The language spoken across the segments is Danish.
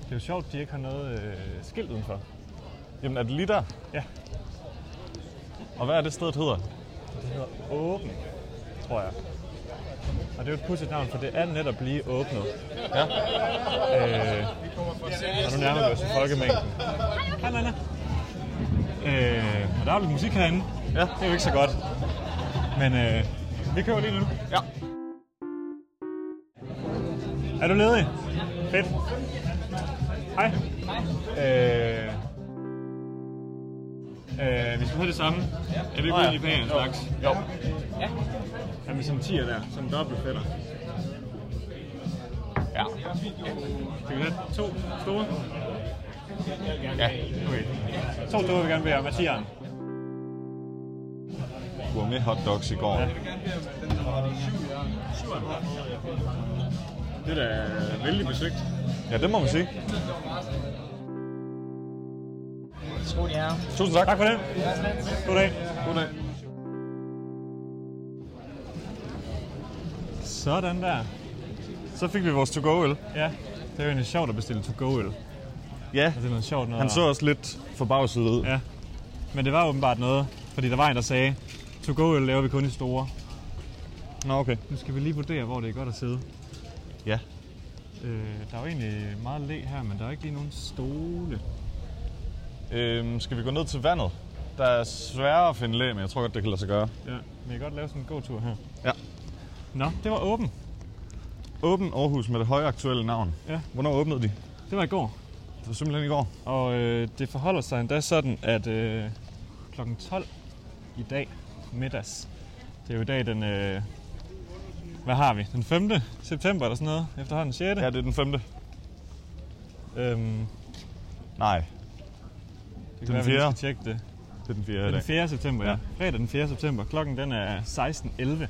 Det er jo sjovt, de ikke har noget øh, skilt udenfor. Jamen, er det lige der? Ja. Og hvad er det stedet hedder? Det hedder Åben, tror jeg. Og det er jo et pudsigt navn, for det er netop lige åbnet. Ja. Øh, og nu nærmer vi os folkemængden. Hej Nana. Øh, og der er lidt musik herinde. Ja. Det er jo ikke så godt. Men øh, vi kører lige nu. Ja. Er du ledig? Fedt. Hej. Øh, øh, vi skal have det samme. Er vi ikke Nå ja. ude i Japan Jo. slags? Jo. Er vi som 10'er der? Som dobbelt fætter. Ja. Skal vi have to store? Ja. Okay. To store vil jeg gerne bede om. Hvad siger han? Gourmet hotdogs i går. Ja. Det er da vældig besøgt. Ja, det må man sige. Skål jer. Tusind tak. Tak for det. God dag. God dag. Sådan der. Så fik vi vores to-go-øl. Ja, det er jo egentlig sjovt at bestille to-go-øl. Altså, Ja. det er noget sjovt noget. Han at- så også lidt forbavset ud. Ja. Men det var åbenbart noget, fordi der var en, der sagde, to-go-øl laver vi kun i store. Nå, okay. Nu skal vi lige vurdere, hvor det er godt at sidde. Ja. Øh, der er jo egentlig meget læ her, men der er ikke lige nogen stole. Øhm, skal vi gå ned til vandet? Der er sværere at finde læ, men jeg tror godt, det kan lade sig gøre. Ja, men jeg kan godt lave sådan en god tur her. Ja. Nå, det var åben. Åben Aarhus med det højaktuelle navn. Ja. Hvornår åbnede de? Det var i går. Det var simpelthen i går. Og øh, det forholder sig endda sådan, at øh, kl. 12 i dag middags, det er jo i dag den, øh, hvad har vi, den 5. september eller sådan noget, efterhånden 6. Ja, det er den femte. Øhm, Nej, det Den kan være, vi lige fjerde. skal tjekke det. det er den fjerde i Den dag. 4. september, ja. Ja. Fredag den 4. september. Klokken den er 16.11.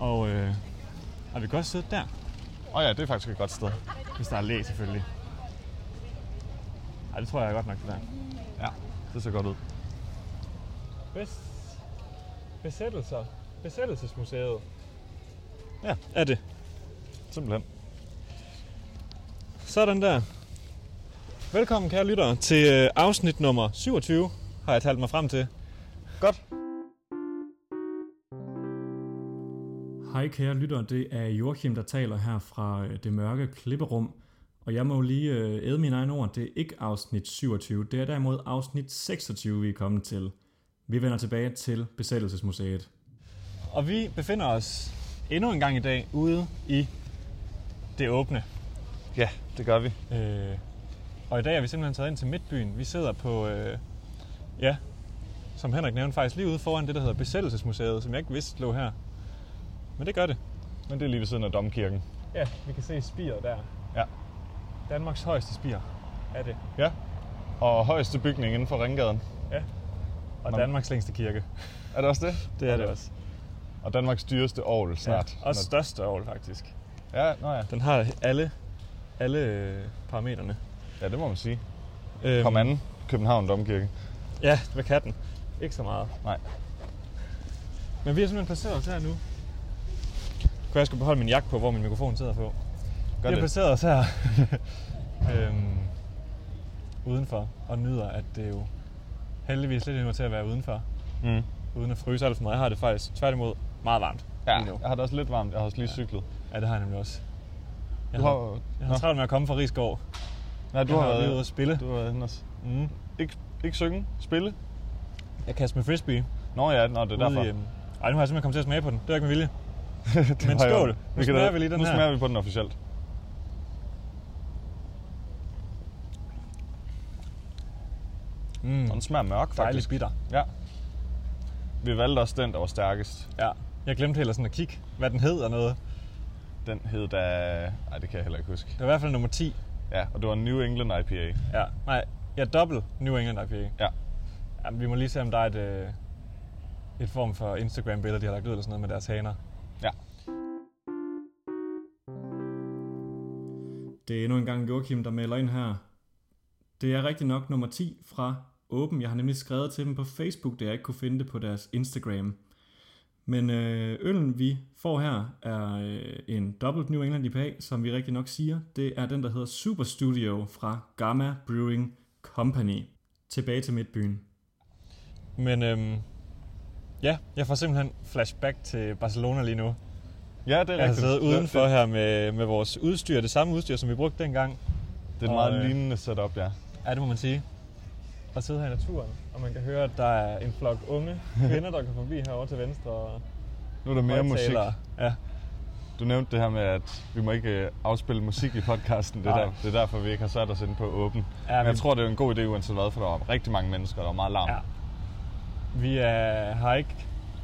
Og, øh, og vi kan også sidde der, Åh oh, ja, det er faktisk et godt sted. hvis der er læ selvfølgelig. Ej, det tror jeg er godt nok, det der. Ja, det ser godt ud. Bes... Besættelser. Besættelsesmuseet. Ja. Er det. Simpelthen. Sådan der. Velkommen, kære lyttere, til øh, afsnit nummer 27, har jeg talt mig frem til. Godt. Hej kære lytter, det er Joachim, der taler her fra øh, det mørke klipperum. Og jeg må jo lige øh, æde mine egne ord, det er ikke afsnit 27, det er derimod afsnit 26, vi er kommet til. Vi vender tilbage til Besættelsesmuseet. Og vi befinder os endnu en gang i dag ude i det åbne. Ja, det gør vi. Øh, og i dag er vi simpelthen taget ind til Midtbyen. Vi sidder på, øh, ja, som Henrik nævnte faktisk lige ude foran det, der hedder Besættelsesmuseet, som jeg ikke vidste lå her. Men det gør det. Men det er lige ved siden af domkirken. Ja, vi kan se spiret der. Ja. Danmarks højeste spir er det. Ja. Og højeste bygning inden for Ringgaden. Ja. Og Nå. Danmarks længste kirke. Er det også det? Det er det også. Og Danmarks dyreste ovl snart. Ja, også største ovl, faktisk. Ja, nå ja. Den har alle, alle øh, parametrene. ja, det må man sige. Øhm, Kom anden. København Domkirke. Ja, hvad kan den? Ikke så meget. Nej. Men vi har simpelthen placeret os her nu. Kunne jeg skulle beholde min jakke på, hvor min mikrofon sidder på. vi Gør har det. placeret os her øhm, udenfor og nyder, at det jo heldigvis lidt endnu er til at være udenfor. Mm. Uden at fryse alt for meget. Jeg har det faktisk tværtimod meget varmt Ja, lige nu. jeg har det også lidt varmt. Jeg har også lige cyklet. Ja, det har jeg nemlig også. Jeg Du har, har- jeg har Nå. travlt med at komme fra Rigsgaard. Nej, du Jeg har, har lige været ude at spille. Du har været henne også. Mm. Ikke, ikke synge, spille. Jeg kaster med frisbee. Nå ja, nå, det er derfor. Ude i, øhm, Ej, nu har jeg simpelthen kommet til at smage på den. Det er ikke med vilje. Det Men var i skål. orden. Nu smager da- vi lige den nu her. smager vi på den officielt. Mm. Og den smager mørk, Dejligt faktisk. bitter. Ja. Vi valgte også den, der var stærkest. Ja. Jeg glemte heller sådan at kigge, hvad den hed og noget. Den hed da... Ej, det kan jeg heller ikke huske. Det var i hvert fald nummer 10. Ja, og det var en New England IPA. Ja. Nej, ja, dobbelt New England IPA. Ja. Jamen, vi må lige se, om der er et, øh, et form for Instagram-billede, de har lagt ud eller sådan noget med deres haner. Ja. Det er endnu en gang Joachim, der melder ind her. Det er rigtig nok nummer 10 fra Åben. Jeg har nemlig skrevet til dem på Facebook, da jeg ikke kunne finde det på deres Instagram. Men øh, øllen, vi får her, er øh, en dobbelt New England IPA, som vi rigtig nok siger. Det er den, der hedder Super Studio fra Gamma Brewing Company. Tilbage til Midtbyen. Men øhm, ja, jeg får simpelthen flashback til Barcelona lige nu. Ja, det er Jeg har rigtigt. siddet udenfor Det, her med, med vores udstyr, det samme udstyr, som vi brugte dengang. det, det er et Og, meget øh, lignende setup, ja. Ja, det må man sige. Og sidde her i naturen, og man kan høre, at der er en flok unge kvinder, der kan forbi herovre til venstre. Og Nu er der mere musik. højttalere. Ja, Du nævnte det her med, at vi må ikke øh, afspille musik i podcasten. Det er, Nej. der, det er derfor, vi ikke har sat os inde på åben. Ja, Ja, men jeg vi- tror, det er en god idé uanset hvad, for der var rigtig mange mennesker, der var meget larm. ja. Vi er, har ikke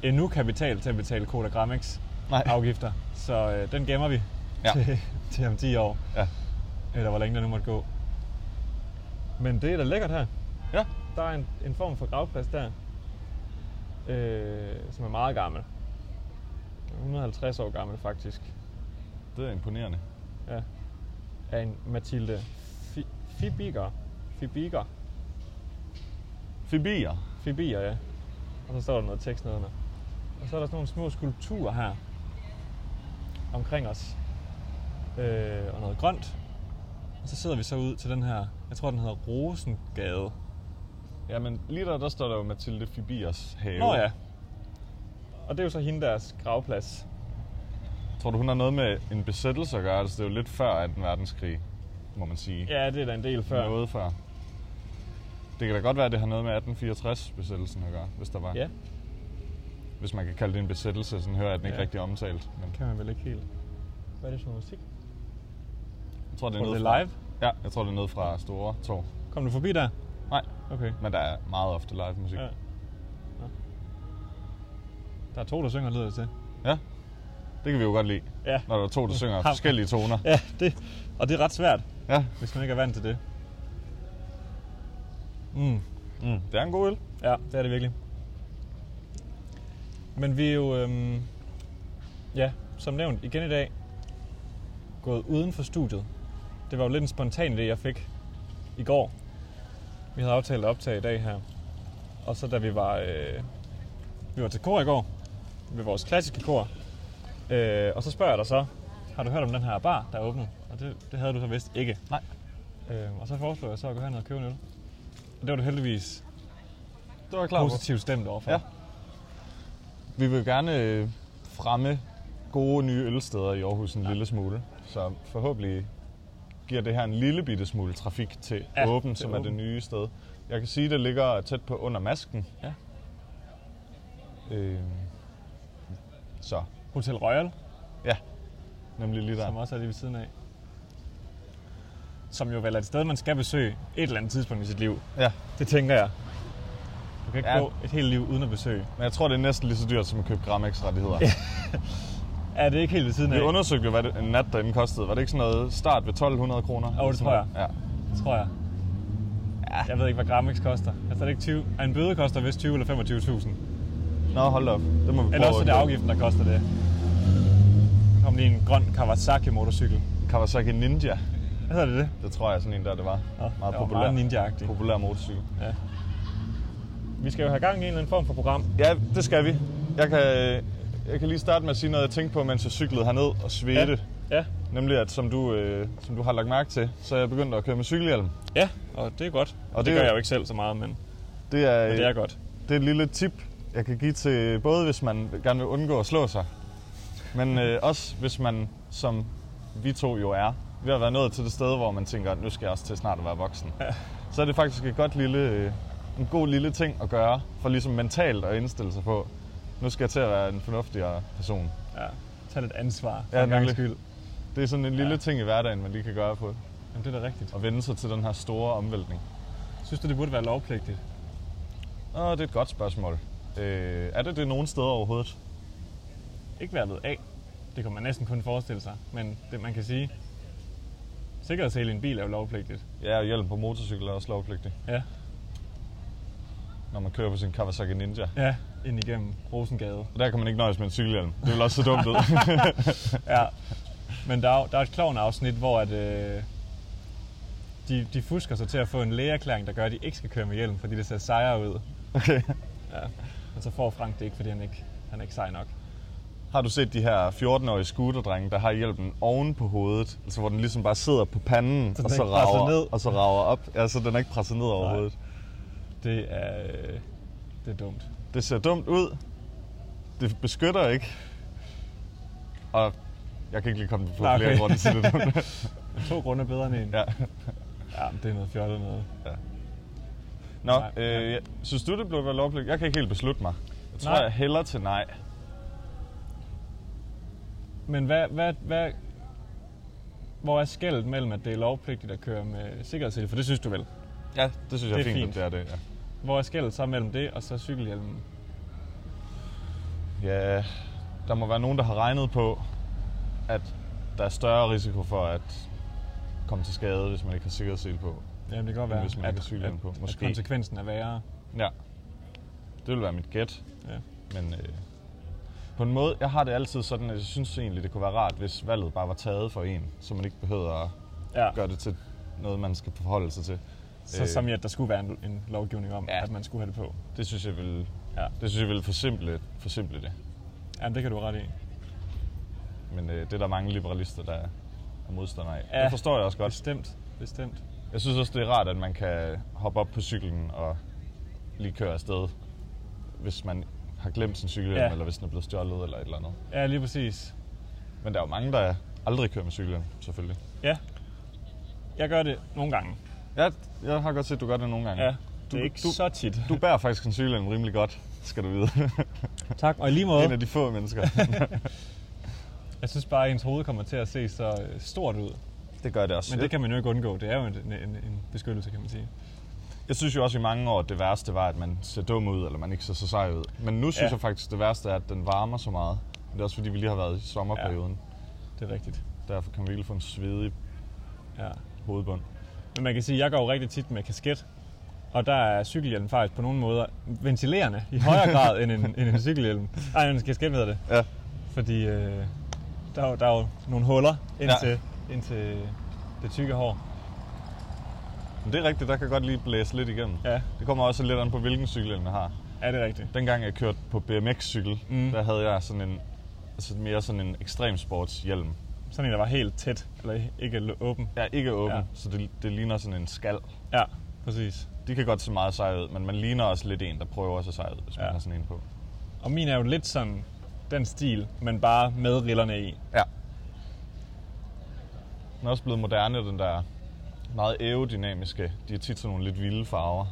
endnu kapital til at betale Cola Gramex Nej. afgifter, så øh, den gemmer vi Ja. til, til om 10 år, Ja. eller hvor længe det nu måtte gå. Men det er da lækkert her. ja. Der er en, en form for gravplads der, øh, som er meget gammel. 150 år gammel faktisk. det er imponerende. Ja. Af en Mathilde Fi- Fibiger. Fibiger. Fibier. Fibier, ja. Og så står der noget tekst nedenunder. Og så er der sådan nogle små skulpturer her. Omkring os. Øh, og noget grønt. Og så sidder vi så ud til den her, jeg tror den hedder Rosengade. Ja, men lige der, der står der jo Mathilde Fibiers have. Nå ja. Og det er jo så hende deres gravplads. Tror du, hun har noget med en besættelse at gøre? Altså, det er jo lidt før 2. verdenskrig, må man sige. Ja, det er da en del før. Noget før. Det kan da godt være, at det har noget med 1864-besættelsen at gøre, hvis der var. Ja, Hvis man kan kalde det en besættelse, sådan hører jeg den ikke Ja. rigtig omtalt. Men kan man vel ikke helt. Hvad er det for noget musik? jeg tror, det er, Tror du, nede det er fra- live? Ja, jeg tror, det er nede fra Store Torv. Kom du forbi der? Nej, Okay. men der er meget ofte live musik. Ja. Nå. Der er to, der synger, lyder det til. ja. Det kan vi jo godt lide, Ja. når der er Mm. to, der synger forskellige toner. Ja, det, og det er ret svært, Ja. hvis man ikke er vant til det. Mm. Mm. Det er en god øl. Ja, det er det virkelig. Men vi er jo, øhm, ja, som nævnt igen i dag, gået uden for studiet. Det var jo lidt en spontan idé, jeg fik i går. Vi havde aftalt at optage i dag her. Og så da vi var, øh, vi var til kor i går, ved vores klassiske kor, øh, og så spørger jeg dig så, har du hørt om den her bar, der er åbnet? Og det, det havde du så vist ikke. Nej. Øh, og så foreslår jeg så at gå herned og købe en øl. Og det var du heldigvis Det var klart. positivt stemt overfor. Ja. Vi vil gerne øh, fremme gode nye ølsteder i Aarhus en ja. lille smule. Så forhåbentlig giver det her en lille bitte smule trafik til Ja, ja, Åben, til som er det Åben. nye sted. Jeg kan sige, at det ligger tæt på under masken. Ja. Øh, så, Hotel Royal, nemlig lige ja. som der. også er lige ved siden af. Som jo vel er et sted, man skal besøge et eller andet tidspunkt i sit liv. Ja, Det tænker jeg. Du kan ikke Ja. ja. gå et helt liv uden at besøge. men jeg tror, det er næsten lige så dyrt som at købe Gramex-rettigheder. Er det ikke helt ved siden af? Vi undersøgte jo, hvad det, en nat derinde kostede. Var det ikke sådan noget start ved 1200 kroner? Jo, det tror jeg. Ja. Tror jeg. Ja. Jeg ved ikke, hvad Grammix koster. Altså, er det ikke 20? Ej, En bøde koster vist 20 eller 25.000. Nå, hold da op. Det må vi Eller også er det at- afgiften, der koster det. Der kom lige en grøn Kawasaki-motorcykel. Kawasaki Ninja. Hvad hedder det det? Det tror jeg er sådan en der, det var. Nå, meget det var populær, meget ninja-agtig. populær motorcykel. Vi skal jo have gang i en eller anden form for program. Ja, det skal vi. Jeg kan, jeg kan lige starte med at sige noget, jeg tænkte på, mens jeg cyklede herned og svedte. Ja. Ja. Nemlig, at som du, øh, som du har lagt mærke til, så er jeg begyndt at køre med cykelhjelm. Ja, og det er godt. Og, det, det det er gør jo- jeg jo ikke selv så meget, men, Det er, øh, men det er godt. det er et lille tip, jeg kan give til både, hvis man gerne vil undgå at slå sig, men øh, også hvis man, som vi to jo er, ved at være nået til det sted, hvor man tænker, nu skal jeg også til snart at være voksen. Ja. Så er det faktisk et godt lille, øh, en god lille ting at gøre, for ligesom mentalt at indstille sig på, nu skal jeg til at være en fornuftigere person. Ja. Tag lidt ansvar for Ja, en gangs nemlig. skyld. Det er sådan en lille ja. ting i hverdagen, man lige kan gøre på, Jamen, det er da rigtigt. og vende sig til den her store omvæltning. Synes du, det burde være lovpligtigt? Åh, det er et godt spørgsmål. Øh, er det det nogen steder overhovedet? Ikke værlet af. Det kan man næsten kun forestille sig. Men det, man kan sige, sikkerhedshæl i en bil er jo lovpligtigt. Ja, og hjelm på motorcykel er også lovpligtig, Ja. når man kører på sin Kawasaki Ninja. Ja, ind igennem Rosengade. Og der kan man ikke nøjes med en cykelhjelm. Det vil også se dumt ud. Ja. Men der er, jo- der er et klovn afsnit, hvor at, øh, de, de fusker sig til at få en lægeerklæring, der gør, at de ikke skal køre med hjelm, fordi det ser sejere ud. okay. Og så får Frank det ikke, fordi han ikke, han er ikke sej nok. Har du set de her 14-årige scooterdrenge, der har hjelmen oven på hovedet? Altså hvor den ligesom bare sidder på panden, den og er så, ikke presset rager, ned. og så rager op. Ja, så den er ikke presset ned overhovedet. Det er, øh, det er dumt. Det ser dumt ud. Det beskytter ikke. Og jeg kan ikke lige komme på Nej, flere okay. okay. grunde til det. To grunde er bedre end en. ja. ja men det er noget fjollet noget. Nå, Nej, øh, ja. jeg- synes du, det burde være lovpligt? Jeg kan ikke helt beslutte mig. Jeg tror, Nej. nej. jeg hælder til nej. Men hvad, hvad, hvad, hvor er skældet mellem, at det er lovpligtigt at køre med sikkerhedssele? For det synes du vel? Ja, det synes jeg Det er er fint, fint. at det er det. Ja. Hvor er skældet så mellem det og så cykelhjelmen? Ja, der må være nogen, der har regnet på, at der er større risiko for at komme til skade, hvis man ikke har sikkerhedssele på. Jamen det kan godt være, Hvis man ikke har cykelhjelm på. at, at Måske. konsekvensen er værre. Ja, det vil være mit gæt. Ja. Men øh, på en måde, jeg har det altid sådan, at jeg synes egentlig, det kunne være rart, hvis valget bare var taget for en, så man ikke behøver at Ja. gøre det til noget, man skal forholde sig til. Så øh. Øh. som i, at der skulle være en, en lovgivning om, ja. Ja. at man skulle have det på. Det synes jeg vil, Ja. ja. det, synes jeg vil forsimple, forsimple det. Jamen det kan du have ret i. Men øh, det er der mange liberalister, der er modstandere af. Ja. Ja. Det forstår jeg også godt. Bestemt, bestemt. Jeg synes også, det er rart, at man kan hoppe op på cyklen og lige køre afsted, hvis man har glemt sin cykelhjelm, Ja. ja. eller hvis den er blevet stjålet eller et eller andet. Ja, lige præcis. Men der er jo mange, der aldrig kører med cykelhjelm, selvfølgelig. Ja. Jeg gør det nogle gange. Ja, jeg har godt set, at du gør det nogle gange. Ja. Det Du- er ikke du- så tit. Du bærer faktisk en cykelhjelm rimelig godt, skal du vide. Tak, og i lige en af måde. de få mennesker. Jeg synes bare, at ens hoved kommer til at se så øh, stort ud. det gør det også. Men det kan man jo ikke undgå. Det er jo en, en, en beskyttelse, kan man sige. Jeg synes jo også i mange år, at det værste var, at man ser dum ud, eller man ikke ser så sej ud. Men nu synes Ja. ja. jeg faktisk, at det værste er, at den varmer så meget. Men det er også fordi, vi lige har været i sommerperioden. Det er rigtigt. Ja. Derfor kan vi virkelig få en svedig Ja. hovedbund. Men man kan sige, at jeg går jo rigtig tit med kasket. Og der er cykelhjelmen faktisk på nogle måder ventilerende i højere grad end en, end en cykelhjelm. Nej, en kasket hedder det. Ja. Fordi øh, der, er jo, der er jo nogle huller ind Ja. til, ind til det tykke hår. Men det er rigtigt, der kan godt lige blæse lidt igennem. Ja, Det kommer også lidt an på, hvilken cykel man har. er det rigtigt? Dengang jeg kørte på BMX-cykel, Mm. mm. der havde jeg sådan en, altså mere sådan en ekstremsportshjelm. Sådan en, der var helt tæt, eller ikke l- åben. Jeg er ikke åben, Ja. ja. så det, det ligner sådan en skal. Ja, præcis. De kan godt se meget sej ud, men man ligner også lidt en, der prøver at se sej ud, hvis ja. Ja. man har sådan en på. Og min er jo lidt sådan den stil, men bare med rillerne i. Ja. Den er også blevet moderne, den der meget aerodynamiske. De har tit sådan nogle lidt vilde farver,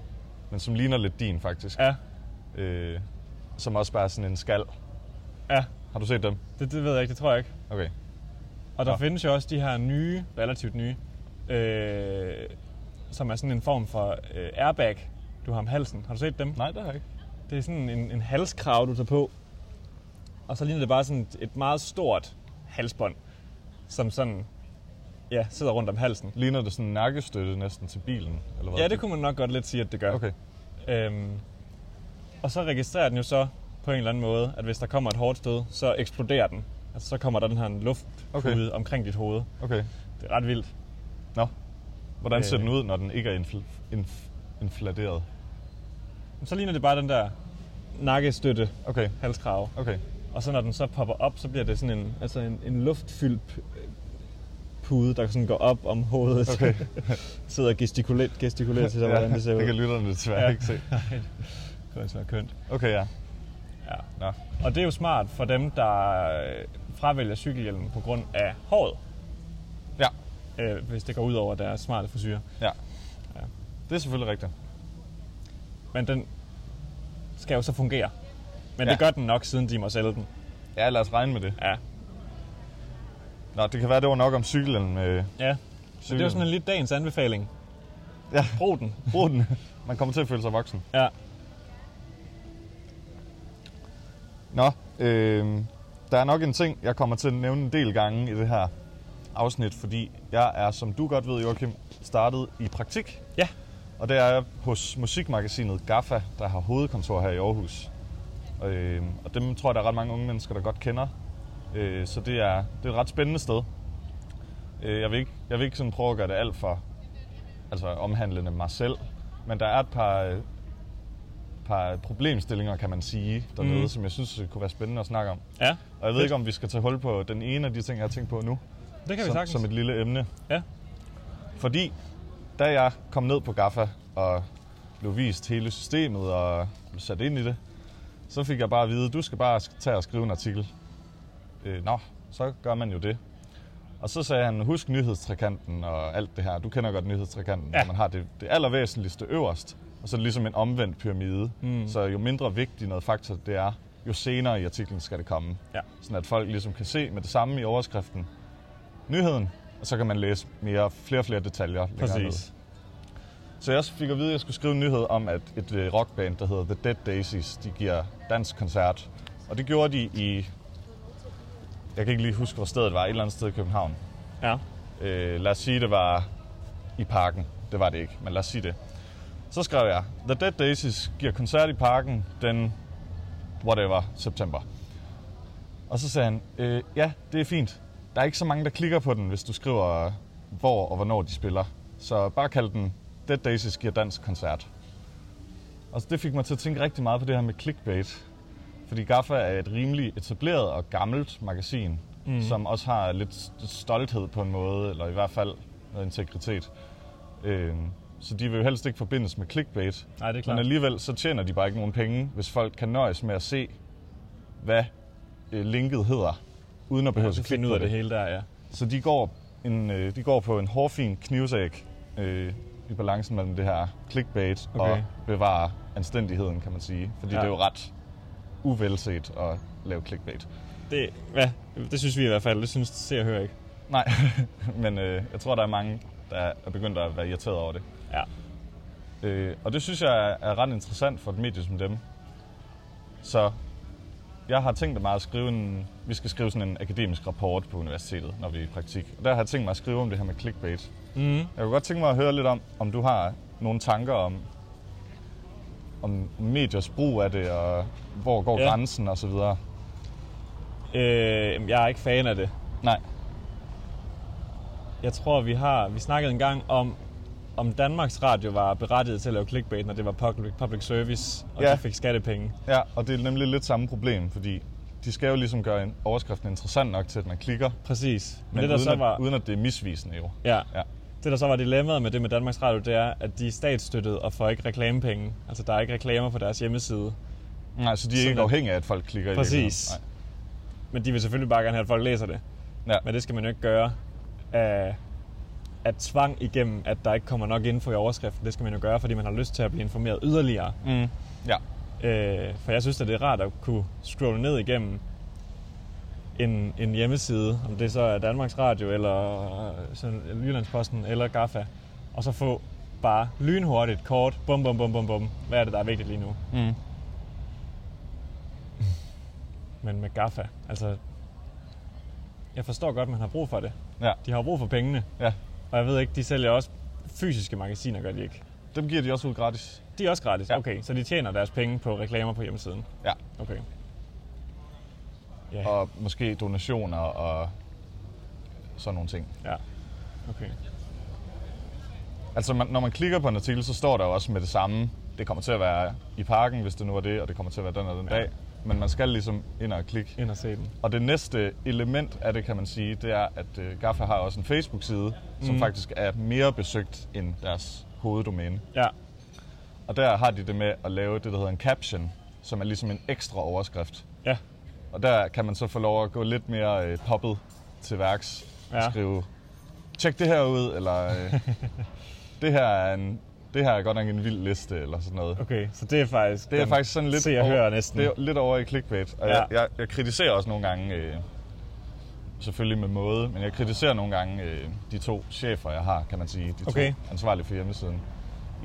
men som ligner lidt din faktisk. Ja, Øh, som også bare er sådan en skal. ja. Har du set dem? Det, det ved jeg ikke, det tror jeg ikke. Okay. Og der Nå. findes jo også de her nye, relativt nye, øh, som er sådan en form for øh, airbag, du har om halsen. Har du set dem? Nej, det har jeg ikke. Det er sådan en, en halskrave, du tager på. Og så ligner det bare sådan et meget stort halsbånd, som sådan, ja, sidder rundt om halsen. Ligner det sådan en nakkestøtte næsten til bilen? Eller hvad? Ja, det kunne man nok godt lidt sige, at det gør. Okay. Øhm, og så registrerer den jo så på en eller anden måde, at hvis der kommer et hårdt stød, så eksploderer den. Altså, så kommer der den her luftpude okay. Okay. omkring dit hoved. Okay. Det er ret vildt. Nå. Hvordan ser Øh. den ud, når den ikke er infl- inf- inflateret? Men Så ligner det bare den der nakkestøtte Okay. halskrave. Okay. Og så når den så popper op, så bliver det sådan en, altså en, en luftfyldt p- pude, der sådan går op om hovedet. Okay. Sidder og gestikulerer, gestikulerer til sig, hvordan det ser ud. det kan lytterne desværre Ja. ja. ikke se. Det kunne altså være kønt. Okay, ja. Ja. Nå. Og det er jo smart for dem, der øh, fravælger cykelhjelmen på grund af håret, Ja. øh, hvis det går ud over deres smarte frisyrer. Ja. ja. Det er selvfølgelig rigtigt. Men den skal jo så fungere. Men Ja. det gør den nok, siden de må sælge den. Ja, lad os regne med det. Ja. Nå, det kan være, det var nok om cyklen. Øh, ja. Så det er jo Cykelhjelm. sådan en lidt dagens anbefaling. Ja. Brug den. brug den. Man kommer til at føle sig voksen. Ja. Nå, øh, der er nok en ting, jeg kommer til at nævne en del gange i det her afsnit, fordi jeg er, som du godt ved, Joachim, startet i praktik. Ja. Og det er jeg hos musikmagasinet GAFFA, der har hovedkontor her i Aarhus. Øh, og dem tror jeg, der er ret mange unge mennesker, der godt kender. Øh, så det er, det er et ret spændende sted. Øh, jeg vil ikke, jeg vil ikke sådan prøve at gøre det alt for altså omhandlende mig selv, men der er et par øh, par problemstillinger, kan man sige, dernede, mm. som jeg synes kunne være spændende at snakke om. Ja, Og jeg ved ikke, om vi skal tage hul på den ene af de ting, jeg har tænkt på nu, det kan vi som, sagtens. som et lille emne. Ja. Fordi da jeg kom ned på Gaffa og blev vist hele systemet og blev sat ind i det, så fik jeg bare at vide, du skal bare sk- tage og skrive en artikel. Øh, nå, så gør man jo det. Og så sagde han, husk nyhedstrekanten og alt det her. Du kender godt nyhedstrekanten, Ja. ja. man har det, det allervæsentligste øverst. Og så er det ligesom en omvendt pyramide. Mm. Så jo mindre vigtig noget faktor det er, jo senere i artiklen skal det komme. Ja. Sådan at folk ligesom kan se med det samme i overskriften nyheden, og så kan man læse mere, flere og flere detaljer længere ned. Præcis. Så jeg fik at vide, at jeg skulle skrive en nyhed om, at et øh, rockband, der hedder The Dead Daisies, de giver dansk koncert. Og det gjorde de i... Jeg kan ikke lige huske, hvor stedet var. Et eller andet sted i København. Ja. Øh, lad os sige, det var i parken. Det var det ikke, men lad os sige det. Så skrev jeg, The Dead Daisies giver koncert i parken den whatever, september. Og så sagde han, øh, ja, det er fint. Der er ikke så mange, der klikker på den, hvis du skriver, øh, hvor og hvornår de spiller. Så bare kald den Dead Daisies giver dansk koncert. Og det fik mig til at tænke rigtig meget på det her med clickbait. Fordi Gaffa er et rimelig etableret og gammelt magasin, mm. som også har lidt st- stolthed på en måde, eller i hvert fald noget integritet. Øh, så de vil jo helst ikke forbindes med clickbait. Nej, det er Men klart. alligevel så tjener de bare ikke nogen penge, hvis folk kan nøjes med at se, hvad øh, linket hedder, uden at behøve Så at finder klikke ud på af det. det hele der, ja. Så de går, en, øh, de går på en hårfin knivsæk øh, i balancen mellem det her clickbait okay. Okay. og bevare anstændigheden, kan man sige. Fordi Ja. ja. det er jo ret uvelset at lave clickbait. Det, hvad? det synes vi i hvert fald. Det synes se og høre ikke. Nej, men øh, jeg tror, der er mange, der er begyndt at være irriteret over det. Ja. Øh, og det synes jeg er ret interessant for et medie som dem. Så jeg har tænkt mig at skrive en... Vi skal skrive sådan en akademisk rapport på universitetet, når vi er i praktik. Og der har jeg tænkt mig at skrive om det her med clickbait. Mm. Jeg kunne godt tænke mig at høre lidt om, om du har nogle tanker om, om mediers brug af det, og hvor går Ja. ja. grænsen og så videre. Øh, jeg er ikke fan af det. Nej, Jeg tror, vi har vi snakkede en gang om, om Danmarks Radio var berettiget til at lave clickbait, når det var public, public service, og ja. Ja. de fik skattepenge. ja, og det er nemlig lidt samme problem, fordi de skal jo ligesom gøre en overskriften interessant nok til, at man klikker, Præcis. Men, Men men det, der uden, så var, at, uden at det er misvisende jo. ja, Ja. det, der så var dilemmaet med det med Danmarks Radio, det er, at de er statsstøttet og får ikke reklamepenge. Altså, der er ikke reklamer på deres hjemmeside. Nej, så de er Sådan ikke at- afhængige af, at folk klikker i Præcis. virkeligheden. Nej. Men de vil selvfølgelig bare gerne have, at folk læser det. Ja. Men det skal man jo ikke gøre af, af tvang igennem, at der ikke kommer nok info i overskriften. Det skal man jo gøre, fordi man har lyst til at blive informeret yderligere. Mm. Ja. Øh, for jeg synes, at det er rart at kunne scrolle ned igennem en, en hjemmeside, om det så er Danmarks Radio, eller øh, sådan Jyllandsposten, eller Gaffa, og så få bare lynhurtigt, kort, bum, bum, bum, bum, bum. Hvad er det, der er vigtigt lige nu? Mm. Men med Gaffa, altså... Jeg forstår godt, man har brug for det. ja. De har jo brug for pengene. Ja. Og jeg ved ikke, de sælger også fysiske magasiner, gør de ikke? Dem giver de også ud gratis. De er også gratis. Ja. Ja. Okay, så de tjener deres penge på reklamer på hjemmesiden. Ja. Okay. Ja, Og måske donationer og sådan nogle ting. ja. Okay. Altså, man, når man klikker på en artikel, så står der jo også med det samme. Det kommer til at være i parken, hvis det nu er det, og det kommer til at være den og den Ja. ja. dag. Men man skal ligesom ind og klikke. Ind og se den. Og det næste element af det, kan man sige, det er, at øh, Gaffa har også en Facebook-side, Mm. som faktisk er mere besøgt end deres hoveddomæne. Ja, Og der har de det med at lave det, der hedder en caption, som er ligesom en ekstra overskrift. ja. Og der kan man så få lov at gå lidt mere øh, poppet til værks og Ja. ja. skrive, tjek det her ud, eller øh, det, her er en, det her er godt nok en vild liste, eller sådan noget. Okay, så det er faktisk... Det er den faktisk sådan lidt, Se og hører næsten. Det er lidt over i clickbait. Og Ja. ja. jeg, jeg, jeg kritiserer også nogle gange, øh, selvfølgelig med måde, men jeg kritiserer nogle gange øh, de to chefer, jeg har, kan man sige. De Okay. to ansvarlige for hjemmesiden.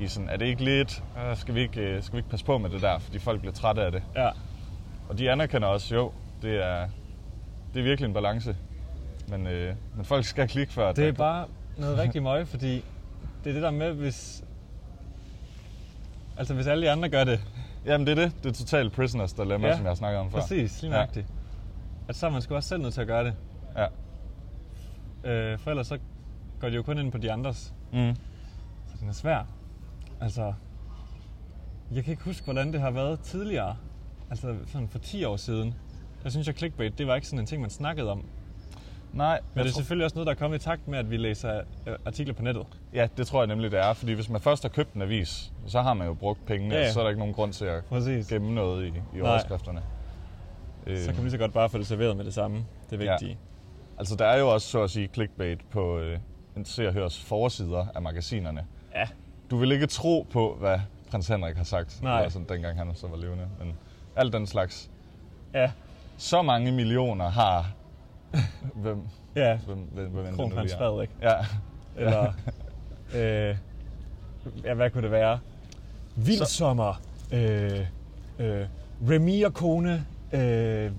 I sådan, er det ikke lidt, øh, skal, vi ikke, øh, skal vi ikke passe på med det der, fordi folk bliver trætte af det. Ja, Og de anerkender også, jo, det er, det er virkelig en balance. Men, øh, men folk skal klikke før. at det er der- bare noget rigtig møg, fordi det er det der med, hvis... Altså, hvis alle de andre gør det, Jamen det er det. Det er totalt prisoners dilemma, Ja. ja. som jeg har snakket om før. præcis, lige Ja. nøjagtigt, at så er man sgu også selv nødt til at gøre det. Ja. Øh, for ellers så går de jo kun ind på de andres. Mm. Så den er svær. Altså, Jeg kan ikke huske, hvordan det har været tidligere. Altså sådan for 10 år siden. Jeg synes, at clickbait, det var ikke sådan en ting, man snakkede om. Men Nej, jeg det er tror- selvfølgelig også noget, der er kommet i takt med, at vi læser øh, artikler på nettet. Ja, det tror jeg nemlig, det er. Fordi hvis man først har købt en avis, så har man jo brugt Ja, pengene, ja, ja. ja. så er der ikke nogen grund til at Præcis. gemme noget i, i overskrifterne. Øh, Så kan man lige så godt bare få det serveret med det samme. Det er Ja. vigtigt. Altså, der er jo også, så at sige, clickbait på øh, en se og høres forsider af magasinerne. Ja. ja. Du vil ikke tro på, hvad prins Henrik har sagt, Nej. Eller sådan, dengang han så var levende. Men alt den slags. Ja. Så mange millioner har... hvem, Ja. hvem, hvem, hvem end det nu Kronprins lige er. Frederik. Ja, Eller... øh, ja, hvad kunne det være? Vildsommer. Øh, øh, Remy og kone. Øh,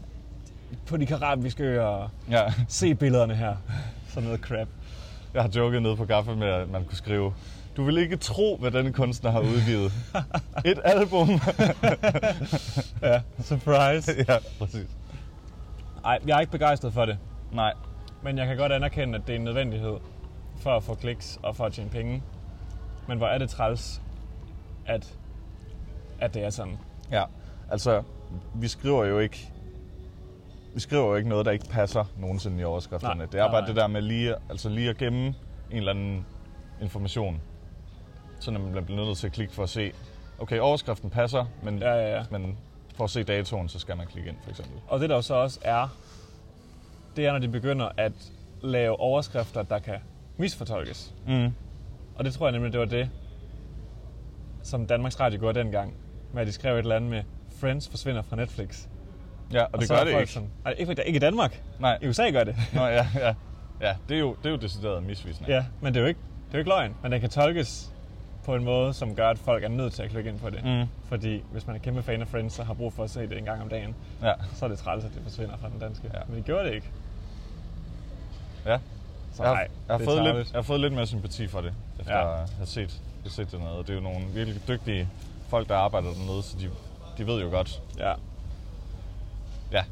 på de karabiske øer. ja. Se billederne her. Sådan noget crap. Jeg har joket nede på Gaffa med, at man kunne skrive, du vil ikke tro, hvad denne kunstner har udgivet. Et album. Ja, surprise. ja, præcis. Ej, jeg er ikke begejstret for det. Nej, Men jeg kan godt anerkende, at det er en nødvendighed for at få kliks og for at tjene penge. Men hvor er det træls, at, at det er sådan. ja. Altså, vi skriver jo ikke vi skriver jo ikke noget, der ikke passer nogensinde i overskrifterne. Nej, det er nej, bare nej. det der med lige, altså lige at gemme en eller anden information. Så når man bliver nødt til at klikke for at se, okay, overskriften passer, men, Ja, ja, ja. men for at se datoen, så skal man klikke ind, for eksempel. Og det der jo så også er, det er, når de begynder at lave overskrifter, der kan misfortolkes. Mm. Og det tror jeg nemlig, det var det, som Danmarks Radio gjorde dengang, med at de skrev et eller andet med, Friends forsvinder fra Netflix. Ja, og, og det så gør er det folk ikke. Sådan, "Ej, ikke, ikke i Danmark. Nej. I USA gør det. Nå, ja, ja. Ja, det er jo, det er jo decideret misvisende. Ja, men det er jo ikke, det er jo ikke løgn. Men den kan tolkes på en måde, som gør, at folk er nødt til at klikke ind på det. Mm. Fordi hvis man er kæmpe fan af Friends og har brug for at se det en gang om dagen, Ja. så er det træls, at det forsvinder fra den danske. Ja. Men det gjorde det ikke. ja. Så Jeg, har, nej, jeg, har det er fået lidt, tarveligt. jeg har fået lidt mere sympati for det, efter Ja. ja. at have set, have set det noget. Og det er jo nogle virkelig dygtige folk, der arbejder dernede, så de, de ved jo godt. Ja. Ja.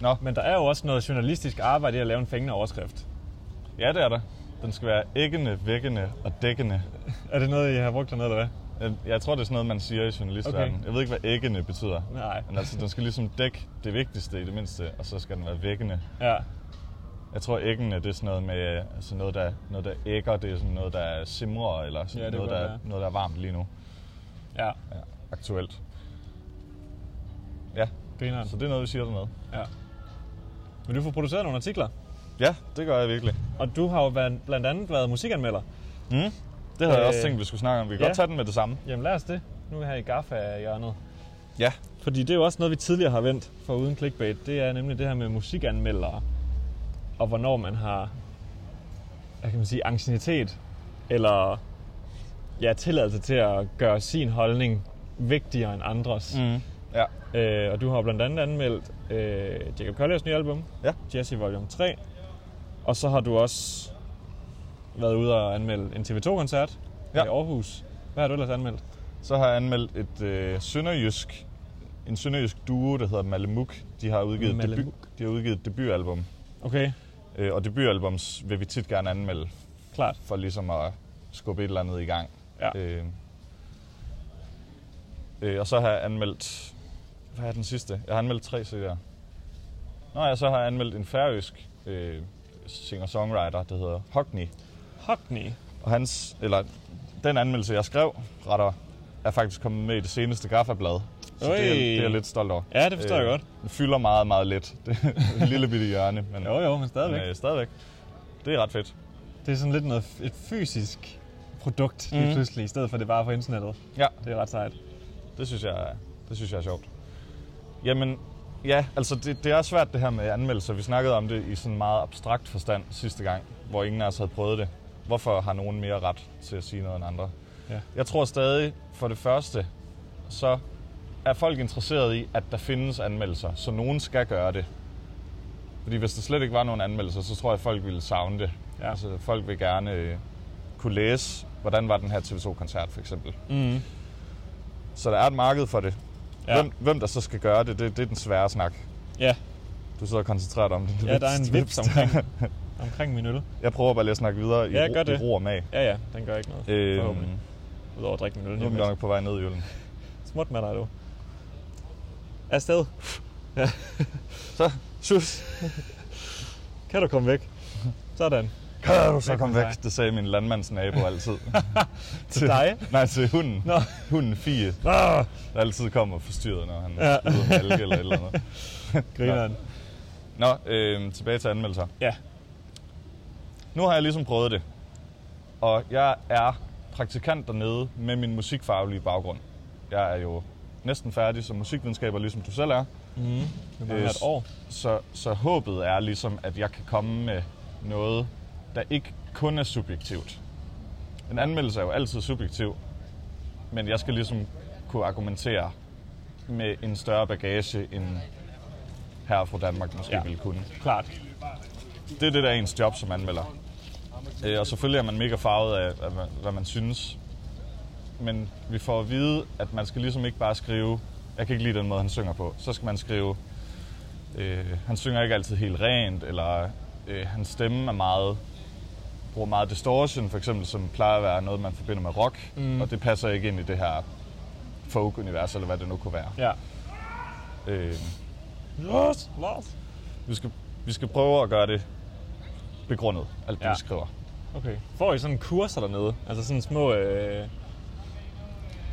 Nå, Men der er jo også noget journalistisk arbejde i at lave en fængende overskrift. ja det er der. Den skal være æggende, vækkende og dækkende. Er det noget, I har brugt dernede, eller hvad? Jeg, jeg tror, det er sådan noget, man siger i journalistverdenen. Okay. Jeg ved ikke, hvad æggende betyder. Nej. Men altså, den skal ligesom dække det vigtigste i det mindste, og så skal den være vækkende. Ja. Jeg tror æggene, det er sådan noget med øh, altså noget, der, noget, der ægger, det er sådan noget, der simrer, eller sådan Ja, det noget, kan der, godt være. noget, der er varmt lige nu. Ja. Ja, aktuelt. Ja, Grineren. så det er noget, vi siger dernede. Ja. Men du får produceret nogle artikler. Ja, det gør jeg virkelig. Og du har jo været- blandt andet været musikanmelder. Mm. Det havde øh, jeg også Øh, tænkt, vi skulle snakke om. Vi kan ja. ja. godt tage den med det samme. Jamen lad os det. Nu er her i Gaffa-hjørnet. Ja. Fordi det er jo også noget, vi tidligere har vendt for uden clickbait. Det er nemlig det her med musikanmeldere. Og hvornår man har, hvad kan man sige, angstinitet. Eller ja, tilladelse til at gøre sin holdning vigtigere end andres. Mm. Ja. Mm. Øh, og du har blandt andet anmeldt øh, Jacob Colliers nye album, Ja. Jesse Volume 3. Og så har du også været ude og anmelde en TV2-koncert Ja. i Aarhus. Hvad har du ellers anmeldt? Så har jeg anmeldt et øh, sønderjysk, en sønderjysk duo, der hedder Malemuk. De har udgivet, et debut, Malemuk. de har udgivet et debutalbum. Okay, Øh, og debutalbums vil vi tit gerne anmelde, klart. for ligesom at skubbe et eller andet i gang. Ja. Øh, øh, og så har jeg anmeldt... Hvad er den sidste? Jeg har anmeldt tre CD'er. Nå ja, så har jeg anmeldt en færøsk øh, singer-songwriter, der hedder Hogni. Hockney. Og hans, eller den anmeldelse, jeg skrev, retter, er faktisk kommet med i det seneste Gaffa-blad. Så det er, Øj. det er jeg lidt stolt over. Øh, Ja, det forstår jeg godt. Den fylder meget, meget lidt. Det er en lille bitte hjørne, men, Jo, jo, men men stadigvæk. øh, stadigvæk. Det er ret fedt. Det er sådan lidt noget, f- et fysisk produkt lige Mhm. pludselig, i stedet for det bare på internettet. Ja. Det er ret sejt. Det synes jeg, det synes jeg er sjovt. Jamen, ja, altså det, det er svært det her med anmeldelser. Vi snakkede om det i sådan en meget abstrakt forstand sidste gang, hvor ingen af os havde prøvet det. Hvorfor har nogen mere ret til at sige noget end andre? Ja. Jeg tror stadig, for det første, så er folk interesseret i, at der findes anmeldelser, så nogen skal gøre det. Fordi hvis der slet ikke var nogen anmeldelser, så tror jeg, at folk ville savne det. Ja. Altså, folk vil gerne øh, kunne læse, hvordan var den her TV2-koncert for eksempel. Mm. Så der er et marked for det. Ja. Ja. Hvem, hvem der så skal gøre det, det, det er den svære snak. Ja. Du sidder og koncentrerer dig om det. ja, der er en vips omkring, omkring min øl. Jeg prøver bare lige at snakke videre i, Ja, ro- gør det. i ro og mag. Ja, ja, den gør ikke noget. Øhm, Forhåbentlig. Udover at drikke min øl. Nu er hjemme. vi nok på vej ned i ølen. Smut med dig, du. Afsted. Ja. Så, Sus. kan du komme væk? Sådan. kan du så komme med væk? dig. Det sagde min landmandsnabo altid. Til dig? Nej, til hunden. Nå. Hunden Fie, Ah, der altid kommer og forstyrrer, når han Ja. ja. ude med alge eller et eller andet. grineren. Nå, øh, tilbage til anmeldelser. Ja. Nu har jeg ligesom prøvet det. Og jeg er praktikant dernede med min musikfaglige baggrund. Jeg er jo næsten færdig som musikvidenskaber, ligesom du selv er. Det mangler Yes. et år. Så, så håbet er ligesom, at jeg kan komme med noget, der ikke kun er subjektivt. En anmeldelse er jo altid subjektiv, men jeg skal ligesom kunne argumentere med en større bagage, end her fra Danmark måske Ja. ja. ville kunne. Klart. Det er det, der er ens job som anmelder. Øh, Og selvfølgelig er man mega farvet af, af hvad- hvad man synes. Men vi får at vide, at man skal ligesom ikke bare skrive, jeg kan ikke lide den måde, han synger på. Så skal man skrive, øh, han synger ikke altid helt rent, eller øh, hans stemme er meget bruger meget distortion, for eksempel, som plejer at være noget, man forbinder med rock, mm. og det passer ikke ind i det her folk-univers, eller hvad det nu kunne være. Ja. Øh, Lars, Lars. vi, skal, vi skal prøve at gøre det begrundet, alt det, Ja. vi skriver. Okay. Får I sådan kurser dernede? Altså sådan små... Øh...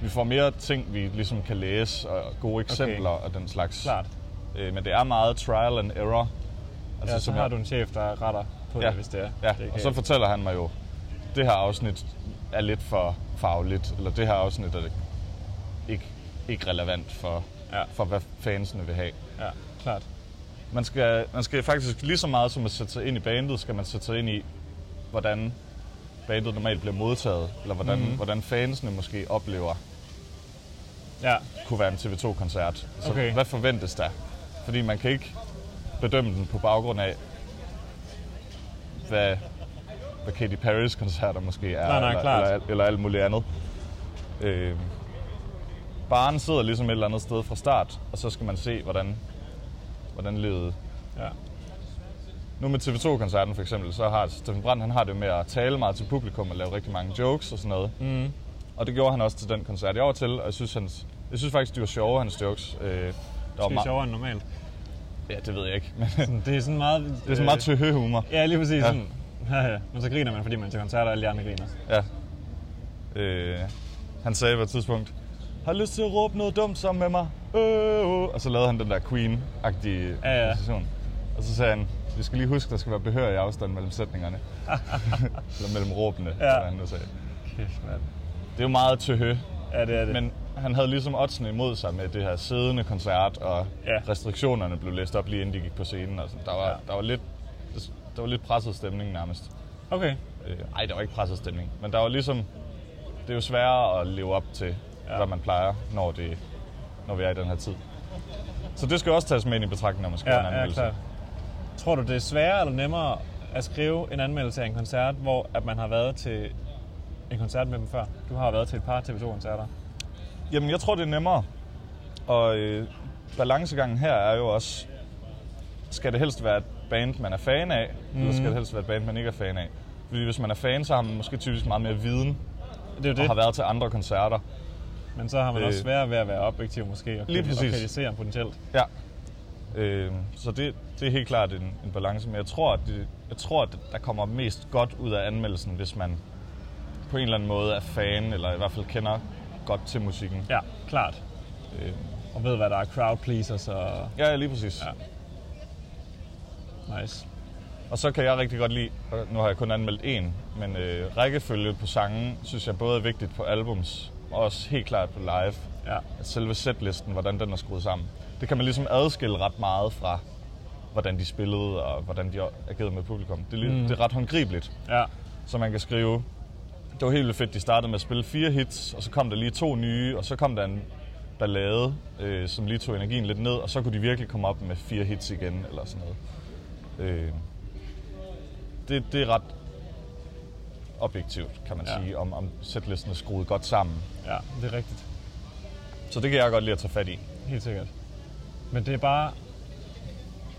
Vi får mere ting, vi ligesom kan læse, og gode eksempler okay. og den slags. Klart. Øh, men det er meget trial and error. Altså, ja, så som har jeg- du en chef, der retter på ja. ja, det, hvis det er. Ja, det kan og så jeg- fortæller han mig jo, det her afsnit er lidt for fagligt, eller det her afsnit er ikke, ikke relevant for, Ja. ja. for, hvad fansene vil have. Ja, klart. Man skal, man skal faktisk lige så meget som at sætte sig ind i bandet, skal man sætte sig ind i, hvordan bandet normalt bliver modtaget, eller hvordan, Mhm. mm. hvordan fansene måske oplever Ja, kunne være en TV2-koncert. Så Okay. okay. hvad forventes der? Fordi man kan ikke bedømme den på baggrund af, hvad, hvad Katy Perry's koncerter måske er, Nej, nej, eller, klart. eller, alt- eller alt muligt andet. Øh, barnen sidder ligesom et eller andet sted fra start, og så skal man se, hvordan, hvordan livet... ja. Nu med TV2-koncerten for eksempel, så har Steffen Brandt, han har det med at tale meget til publikum og lave rigtig mange jokes og sådan noget. Mm. Og det gjorde han også til den koncert, jeg var til, og jeg synes, hans, jeg synes faktisk, de var sjove, hans jokes. Øh, der var Det er sjovere end normalt. Ja, det ved jeg ikke. Men Mm. det Sådan, det er sådan meget... Det er sådan meget tøhø humor. Øh, Ja, lige præcis. Ja. Ja. Sådan. Ja, ja. Men så griner man, fordi man er til koncerter, og alle de andre griner. Ja. Øh, han sagde på et tidspunkt, har du lyst til at råbe noget dumt sammen med mig? Øh, øh. Og så lavede han den der Queen-agtige Ja, ja. position. Og så sagde han, vi skal lige huske, der skal være behør i afstand mellem sætningerne. Eller mellem råbene, ja. eller hvad han nu sagde. Kæft, mand. Det er jo meget tøhø. Ja, det er det. Men han havde ligesom oddsene imod sig med det her siddende koncert, og Ja. ja. restriktionerne blev læst op lige inden de gik på scenen. Og sådan. Der, var, Ja. ja. der, var lidt, der var lidt presset stemning nærmest. Okay. Øh, ej, der var ikke presset stemning. Men der var ligesom... Det er jo sværere at leve op til, Ja. ja. hvad man plejer, når, det, når vi er i den her tid. Så det skal også tages med ind i betragtning, når man skriver en Ja, ja, anmeldelse. klart. Tror du, det er sværere eller nemmere at skrive en anmeldelse af en koncert, hvor at man har været til en koncert med dem før? Du har været til et par TV2-koncerter. Jamen, jeg tror, det er nemmere. Og øh, balancegangen her er jo også, skal det helst være et band, man er fan af, mm. eller skal det helst være et band, man ikke er fan af? Fordi hvis man er fan, så har man måske typisk meget mere viden, Det er jo og har det, været til andre koncerter. men så har man Øh. også sværere ved at være objektiv måske, og, Lige kriti- og præcis. kritisere potentielt. Ja. Øh, så det, det er helt klart en, en balance, men jeg tror, at det, jeg tror, at der kommer mest godt ud af anmeldelsen, hvis man på en eller anden måde er fan, eller i hvert fald kender godt til musikken. Ja, klart. Øh, Og ved, hvad der er crowd pleasers og... ja, lige præcis. Ja. Nice. Og så kan jeg rigtig godt lide, og nu har jeg kun anmeldt en, men øh, rækkefølge på sangen, synes jeg både er vigtigt på albums, og også helt klart på live. Ja, At selve setlisten, hvordan den er skruet sammen. Det kan man ligesom adskille ret meget fra, hvordan de spillede, og hvordan de agerede med publikum. Det, er li- Mm. det er ret håndgribeligt. ja, Så man kan skrive, det var helt vildt fedt, de startede med at spille fire hits, og så kom der lige to nye, og så kom der en ballade, øh, som lige tog energien lidt ned, og så kunne de virkelig komme op med fire hits igen, eller sådan noget. Øh, det, det er ret objektivt, kan man Ja. ja. sige, om, om setlisten er skruet godt sammen. ja, det er rigtigt. Så det kan jeg godt lide at tage fat i. Helt sikkert. Men det er bare...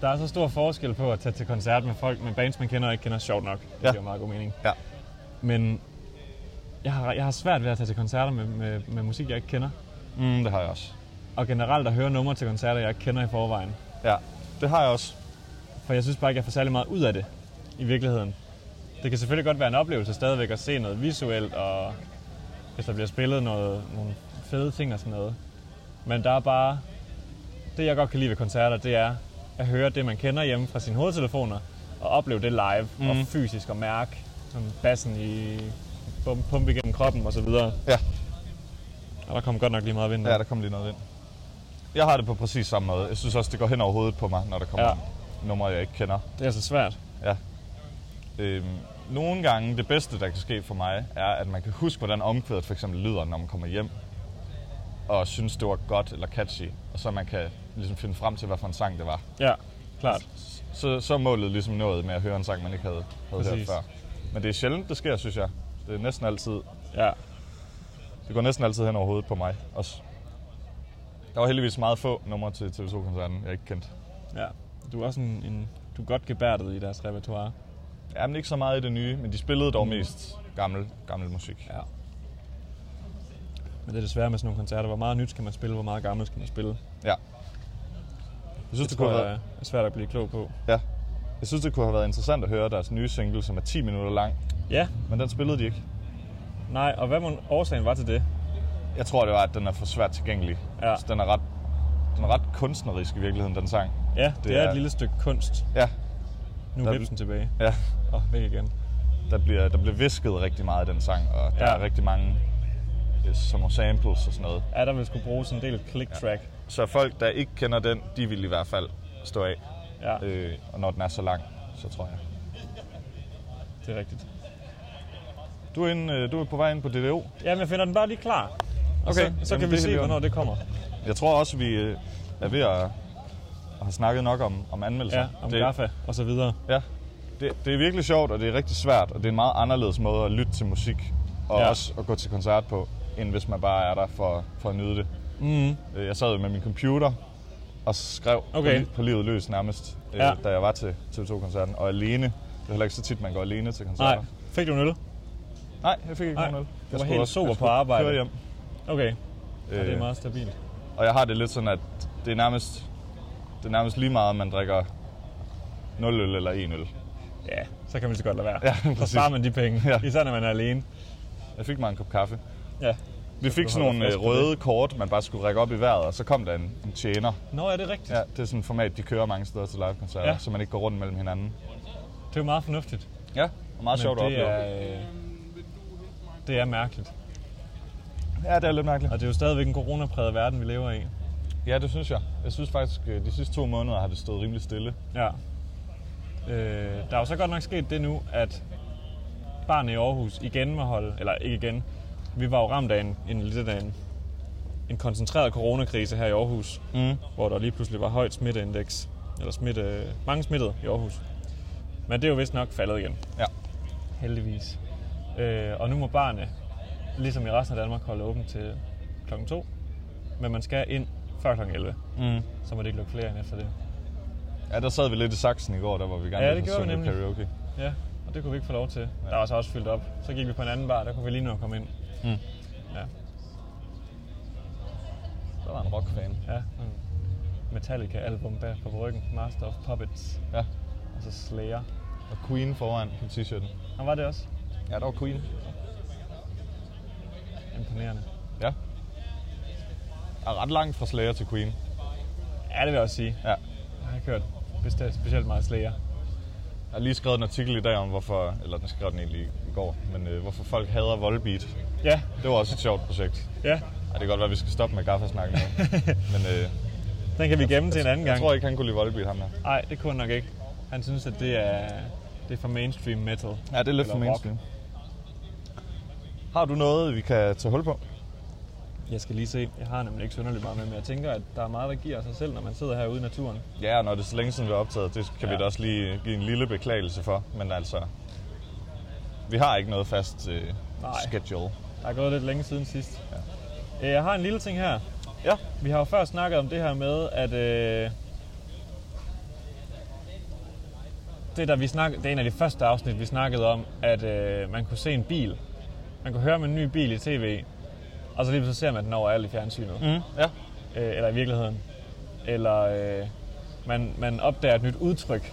Der er så stor forskel på at tage til koncert med folk, med bands, man kender og ikke kender, sjovt nok. Det Ja. giver meget god mening. Ja. Men jeg har, jeg har svært ved at tage til koncerter med, med, med musik, jeg ikke kender. Mm, det har jeg også. Og generelt at høre numre til koncerter, jeg ikke kender i forvejen. Ja, det har jeg også. For jeg synes bare ikke, jeg får særlig meget ud af det i virkeligheden. Det kan selvfølgelig godt være en oplevelse stadigvæk at se noget visuelt, og hvis der bliver spillet noget, nogle fede ting og sådan noget. Men der er bare... Det, jeg godt kan lide ved koncerter, det er at høre det, man kender hjemme fra sine hovedtelefoner, og opleve det live mm. og fysisk og mærke sådan bassen i bum- pumpe igennem kroppen og så videre. Ja. Og der kom godt nok lige meget vind. Ja, der kom lige noget ind. Jeg har det på præcis samme måde. Jeg synes også, det går hen over hovedet på mig, når der kommer Ja. ja. numre, jeg ikke kender. Det er altså svært. Ja. Øhm, nogle gange, det bedste, der kan ske for mig, er, at man kan huske, hvordan omkvædet for eksempel lyder, når man kommer hjem. Og synes, det var godt eller catchy. Og så man kan ligesom finde frem til, hvad for en sang det var. Ja, klart. Så, så er målet ligesom nået med at høre en sang, man ikke havde, havde hørt Præcis. før. Men det er sjældent, det sker, synes jeg. Det er næsten altid Ja, Det går næsten altid hen over hovedet på mig også. Der var heldigvis meget få numre til TV2-koncerten, jeg ikke kendte. ja. Du er også en, en du er godt gebærdet i deres repertoire. Jamen ikke så meget i det nye, men de spillede dog mest gammel, gammel musik. Ja. Men det er desværre med sådan nogle koncerter. Hvor meget nyt skal man spille? Hvor meget gammelt skal man spille? Ja. Jeg synes, det, Det kunne tror have jeg været, er svært at blive klog på. ja. jeg synes, det kunne have været interessant at høre deres nye single, som er 10 minutter lang. Ja, Men den spillede de ikke. nej. Og hvad mon årsagen var til det? Jeg tror, det var, at den er for svært tilgængelig. Ja. Så den er, ret, den er ret kunstnerisk i virkeligheden, den sang. Ja, det, det Det er, er er- et lille stykke kunst. Ja, Nu Der- er Vipsen tilbage. ja. Åh, oh, væk igen. Der bliver, der bliver visket rigtig meget i den sang, og der Ja. ja. er rigtig mange øh, som samples og sådan noget. Ja, der vil skulle bruge sådan en del click track. Så folk, der ikke kender den, de vil i hvert fald stå af. Ja, ja Øh, og når den er så lang, så tror jeg. det er rigtigt. Du er, inde, øh, du er på vej ind på DDO. Jamen, jeg finder den bare lige klar. Og Okay, så, så jamen, kan vi det er se, helt i orden. hvornår det kommer. Jeg tror også, vi øh, er ved at, at have snakket nok om, om anmeldelser. Ja, om det, gaffa og så videre. Ja. Det, det er virkelig sjovt, og det er rigtig svært, og det er en meget anderledes måde at lytte til musik, og Ja. ja. også at gå til koncert på, end hvis man bare er der for, for at nyde det. Mm. Øh, Jeg sad jo med min computer og skrev Okay. okay. på, li- på livet løs nærmest, øh, Ja. da jeg var til TV2-koncerten, og alene. Det er heller ikke så tit, man går alene til koncerter. Nej, fik du en øl? Nej, jeg fik ikke Nej. nogen øl. Du Jeg var skulle helt også- sober jeg skulle på arbejde. Køre hjem. Okay, ja, det er Øh, meget stabilt. Og jeg har det lidt sådan, at det er nærmest, det er nærmest lige meget, om man drikker 0 øl eller 1 øl. Ja, så kan man lige så godt lade være. Ja, så præcis. sparer man de penge, ja. Ja. især når man er alene. Jeg fik mig en kop kaffe. Ja. Vi fik sådan holder nogle fast øh, på røde kort, man bare skulle række op i vejret, og så kom der en, en tjener. Nå, er det rigtigt? Ja. Ja, det er sådan et format, de kører mange steder til livekoncerter, Ja. ja. så man ikke går rundt mellem hinanden. Det er jo meget fornuftigt. Ja, og meget sjovt at det opleve. er, øh, det er mærkeligt. Ja, det er lidt mærkeligt. Og det er jo stadigvæk en coronapræget verden, vi lever i. Ja, det synes jeg. Jeg synes faktisk, øh, de sidste to måneder har det stået rimelig stille. Ja. Øh, der er jo så godt nok sket det nu, at barnet i Aarhus igen må holde, eller ikke igen, vi var jo ramt af en, en lidt af en, en koncentreret coronakrise her i Aarhus, Mm. hvor der lige pludselig var højt smitteindeks, eller smitte, mange smittede i Aarhus. Men det er jo vist nok faldet igen. Ja. Heldigvis. Øh, og nu må barnet, ligesom i resten af Danmark, holde åbent til klokken 2. Men man skal ind før klokken 11, Mm. så må det ikke lukke flere end efter det. Ja, der sad vi lidt i saksen i går, der var vi gerne Ja, ville det have gjorde vi sunget karaoke. Ja, og det kunne vi ikke få lov til. Der var så også fyldt op. Så gik vi på en anden bar, der kunne vi lige nå at komme ind. Mm. Ja, Der var en rockfan. ja. Mm. Metallica album bag på ryggen, Master of Puppets, Ja, og så Slayer. og Queen foran på t-shirten. Han var det også. Ja, der var Queen. Imponerende. Ja. Jeg er ret langt fra Slayer til Queen. Ja, det vil jeg også sige. Ja. Jeg har kørt bestemt, specielt meget Slayer. Jeg har lige skrevet en artikel i dag om, hvorfor... Eller den skrev den egentlig i går. Men øh, hvorfor folk hader Volbeat. Ja, Det var også et sjovt projekt. ja. Ej, det kan godt være, at vi skal stoppe med gaffasnakken nu. Men øh, Den kan vi gemme til en anden jeg gang. tror ikke, han kunne lide Volbeat, ham der. Nej, det kunne han nok ikke. Han synes, at det er, det er for mainstream metal. Ja, det er lidt Eller for rock. mainstream. Har du noget, vi kan tage hul på? Jeg skal lige se. Jeg har nemlig ikke synderligt meget med, men jeg tænker, at der er meget, der giver sig selv, når man sidder herude i naturen. Ja, og når det er så længe siden, vi har optaget, det kan ja. Ja. vi da også lige give en lille beklagelse for. Men altså, vi har ikke noget fast øh, Nej. schedule. Der er gået lidt længe siden sidst. Ja. Jeg har en lille ting her. Ja, Vi har jo før snakket om det her med, at... Øh, det, der vi snak, det er en af de første afsnit, vi snakkede om, at øh, man kunne se en bil. Man man kunne høre om en ny bil i tv, og så lige så ser man den overalt i fjernsynet. Mm, ja. øh, eller i virkeligheden. Eller øh, man, man opdager et nyt udtryk,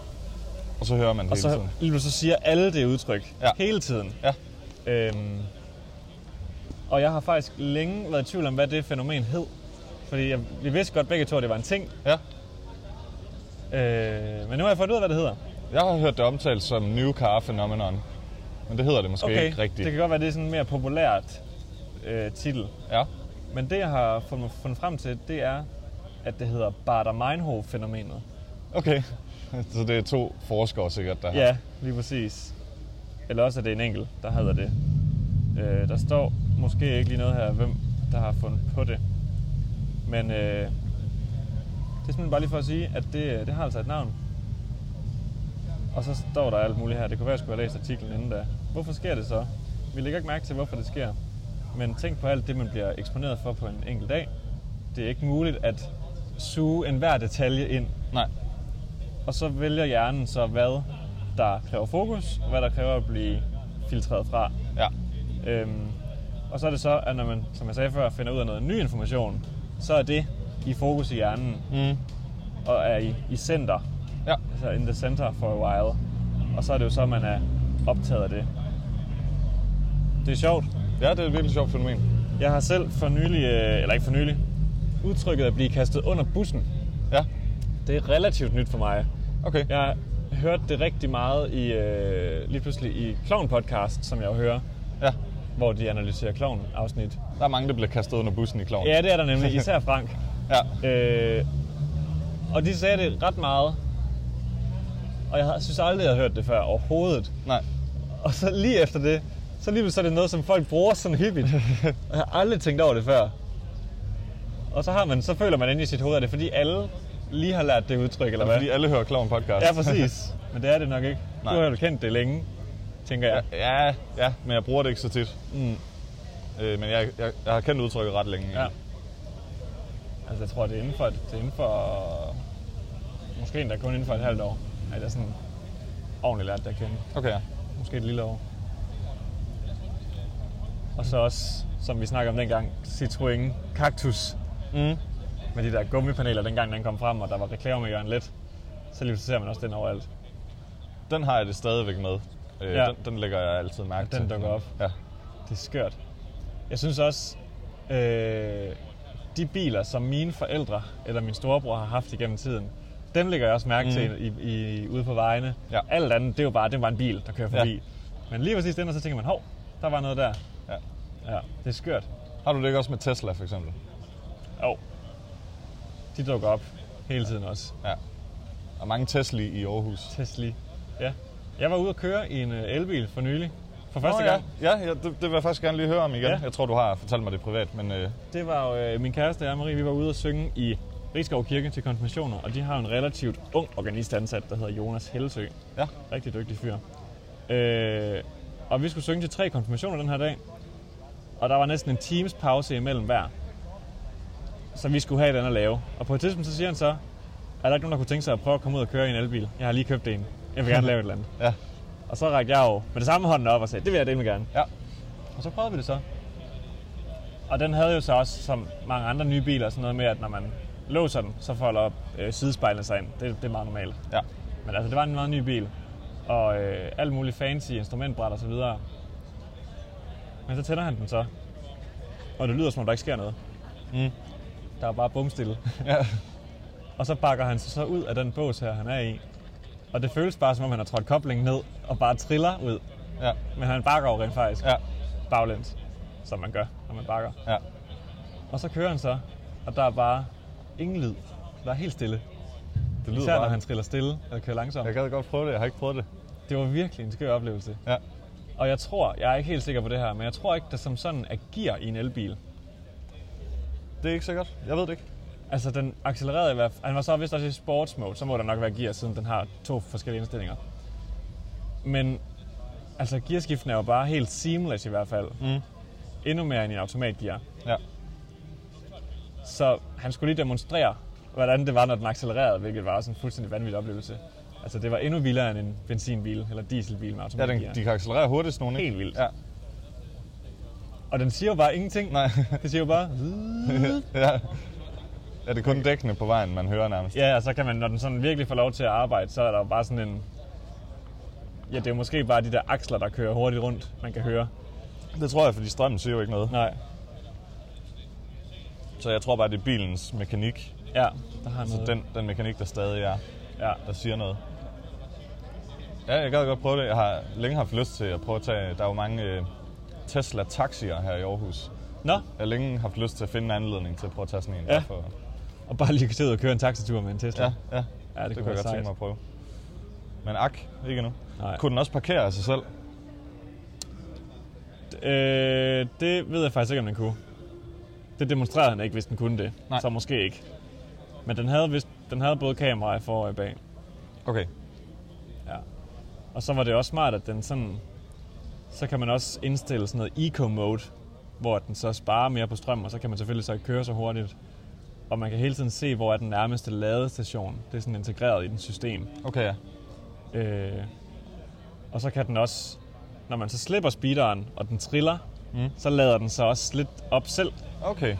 Og så hører man det og hele så tiden. lige nu så siger alle det udtryk Ja. hele tiden. Ja. Øhm, og jeg har faktisk længe været i tvivl om, hvad det fænomen hed. Fordi jeg, vi vidste godt begge to, at det var en ting. Ja. Øh, men nu har jeg fundet ud af, hvad det hedder. Jeg har hørt det omtalt som New Car Phenomenon. Men det hedder det måske ikke rigtigt. det kan godt være, det er sådan en mere populært øh, titel. Ja. Men det, jeg har fundet, fundet frem til, det er, at det hedder Bader-Meinhof-fænomenet. Okay. Så det er to forskere sikkert, der har- Ja, lige præcis. Eller også er det en enkelt, der hedder det. Øh, der står måske ikke lige noget her, hvem der har fundet på det. Men øh, det er simpelthen bare lige for at sige, at det, det har altså et navn. Og så står der alt muligt her. Det kunne være, at jeg skulle have læst artiklen inden da. Hvorfor sker det så? Vi lægger ikke mærke til, hvorfor det sker. Men tænk på alt det, man bliver eksponeret for på en enkelt dag. Det er ikke muligt at suge enhver detalje ind Nej. og så vælger hjernen så, hvad der kræver fokus, og hvad der kræver at blive filtreret fra. Ja. Øhm, og så er det så, at når man, som jeg sagde før, finder ud af noget ny information, så er det i fokus i hjernen, Mm. og er i, i center, Ja. altså in the center for a while. Og så er det jo så, at man er optaget af det. Det er sjovt. Ja, det er et virkelig sjovt fænomen. Jeg har selv for nylig, øh, eller ikke for nylig, udtrykket at blive kastet under bussen. Ja. Det er relativt nyt for mig. Okay. Ja. Jeg hørte det rigtig meget i, øh, lige pludselig i Clown Podcast, som jeg jo hører, ja. hvor de analyserer Clown afsnit. Der er mange, der bliver kastet under bussen i kloven. Ja, det er der nemlig, især Frank. ja. Øh, og de sagde det ret meget, og jeg havde- synes aldrig, jeg havde hørt det før overhovedet. Nej. Og så lige efter det, så lige så er det noget, som folk bruger sådan hyppigt. Og jeg har aldrig tænkt over det før. Og så, har man, så føler man inde i sit hoved, at det er fordi alle lige har lært det udtryk, eller Det er, hvad? fordi alle hører Kloven podcast. Ja, præcis. Men det er det nok ikke. Nej. Du har jo kendt det længe, tænker jeg. ja, ja, men jeg bruger det ikke så tit. Mm. Øh, men jeg, jeg, jeg har kendt udtrykket ret længe. Ja. Altså, jeg tror, det er inden for, det er inden for måske endda kun inden for et halvt år, at jeg sådan ordentligt lærte det at kende. Okay, ja. Måske et lille år. Og så også, som vi snakkede om dengang, Citroën Cactus. Mm. Med de der gummipaneler, dengang den kom frem, og der var reklamer med Jørgen Let. Så lige så ser man også den overalt. Den har jeg det stadigvæk med. Øh, Ja. ja. den, den lægger jeg altid mærke Ja, den til. dukker op. Ja. Det er skørt. Jeg synes også, øh, de biler, som mine forældre eller min storebror har haft igennem tiden, dem lægger jeg også mærke mm. til i, i, ude på vejene. Ja. Alt andet, det er jo bare, det var en bil, der kører Ja. forbi. Men lige præcis den, og så tænker man, hov, der var noget der. Ja. Ja, det er skørt. Har du det ikke også med Tesla, for eksempel? Jo. De dukker op hele tiden også. Ja. Der er mange Tesla i Aarhus. Tesla. Ja. Jeg var ude at køre i en øh, elbil for nylig. For første Nå, gang. Ja, ja, ja det, det vil jeg faktisk gerne lige høre om igen. Ja. Ja. Jeg tror, du har fortalt mig det privat, men øh, Det var jo øh, min kæreste og jeg, Marie, vi var ude og synge i Rigskov Kirke til konfirmationer, og de har jo en relativt ung organist ansat, der hedder Jonas Hellesø. ja. Rigtig dygtig fyr. Øh, og vi skulle synge til tre konfirmationer den her dag, og der var næsten en times pause imellem hver, som vi skulle have et andet at lave. Og på et tidspunkt så siger han så, er der ikke nogen, der kunne tænke sig at prøve at komme ud og køre i en elbil? Jeg har lige købt en. Jeg vil gerne lave et eller andet. Ja. Og så rakte jeg jo med det samme hånden op og sagde, det vil jeg dele gerne. Ja. Og så prøvede vi det så. Og den havde jo så også, som mange andre nye biler, sådan noget med, at når man låser den, så folder op øh, sidespejlene sig ind. Det, det er meget normalt. Ja. Men altså, det var en meget ny bil. Og øh, alt muligt fancy instrumentbræt og så videre. Men så tænder han den så. Og det lyder, som om der ikke sker noget. Mm. Der er bare bumstille. Ja. og så bakker han sig så ud af den bås her, han er i. Og det føles bare, som om han har trådt koblingen ned og bare triller ud. Ja. Men han bakker jo rent faktisk Ja. baglæns, som man gør, når man bakker. Ja. Og så kører han så, og der er bare ingen lyd. Der er helt stille. Det Især når han triller stille eller kører langsomt. Jeg gad godt prøve det. Jeg har ikke prøvet det. Det var virkelig en skør oplevelse. Ja. Og jeg tror, jeg er ikke helt sikker på det her, men jeg tror ikke, der som sådan er gear i en elbil. Det er ikke sikkert. Jeg ved det ikke. Altså den accelererede i hvert fald. Han var så vist også i sports mode, så må der nok være gear, siden den har to forskellige indstillinger. Men altså gearskiften er jo bare helt seamless i hvert fald. Mm. Endnu mere end i en automatgear. Ja. Så han skulle lige demonstrere, hvordan det var, når den accelererede, hvilket var også en fuldstændig vanvittig oplevelse. Altså, det var endnu vildere end en benzinbil eller dieselbil med Ja, automatgear. den, de kan accelerere hurtigst nogen, ikke? Helt vildt. Ja. Og den siger jo bare ingenting. Nej. Det siger jo bare... ja. Er det kun dækkene på vejen, man hører nærmest? Ja, og så kan man, når den sådan virkelig får lov til at arbejde, så er der jo bare sådan en... Ja, det er jo måske bare de der aksler, der kører hurtigt rundt, man kan høre. Det tror jeg, fordi strømmen siger jo ikke noget. Nej, Så jeg tror bare, det er bilens mekanik. ja, der har Så noget. den, den mekanik, der stadig er, Ja, der siger noget. Ja, jeg gad godt prøve det. Jeg har længe haft lyst til at prøve at tage... Der er jo mange øh, Tesla-taxier her i Aarhus. Nå, Jeg har længe haft lyst til at finde en anledning til at prøve at tage sådan en. Ja. der for- og bare lige tage ud og køre en taxatur med en Tesla. ja, ja. ja det, Det, kunne det kunne være jeg godt sejt. tænke mig at prøve. Men ak, ikke endnu. Nej. Kunne den også parkere af sig selv? Øh, det ved jeg faktisk ikke, om den kunne. Det demonstrerede han ikke, hvis den kunne det. Nej. Så måske ikke. Men den havde, vist, den havde både kamera for og bag. Okay. Og så var det også smart, at den sådan... Så kan man også indstille sådan noget eco-mode, hvor den så sparer mere på strøm, og så kan man selvfølgelig så ikke køre så hurtigt. Og man kan hele tiden se, hvor er den nærmeste ladestation. Det er sådan integreret i den system. Okay, ja. Øh, og så kan den også, når man så slipper speederen, og den triller, mm. Mm. så lader den så også lidt op selv. Okay.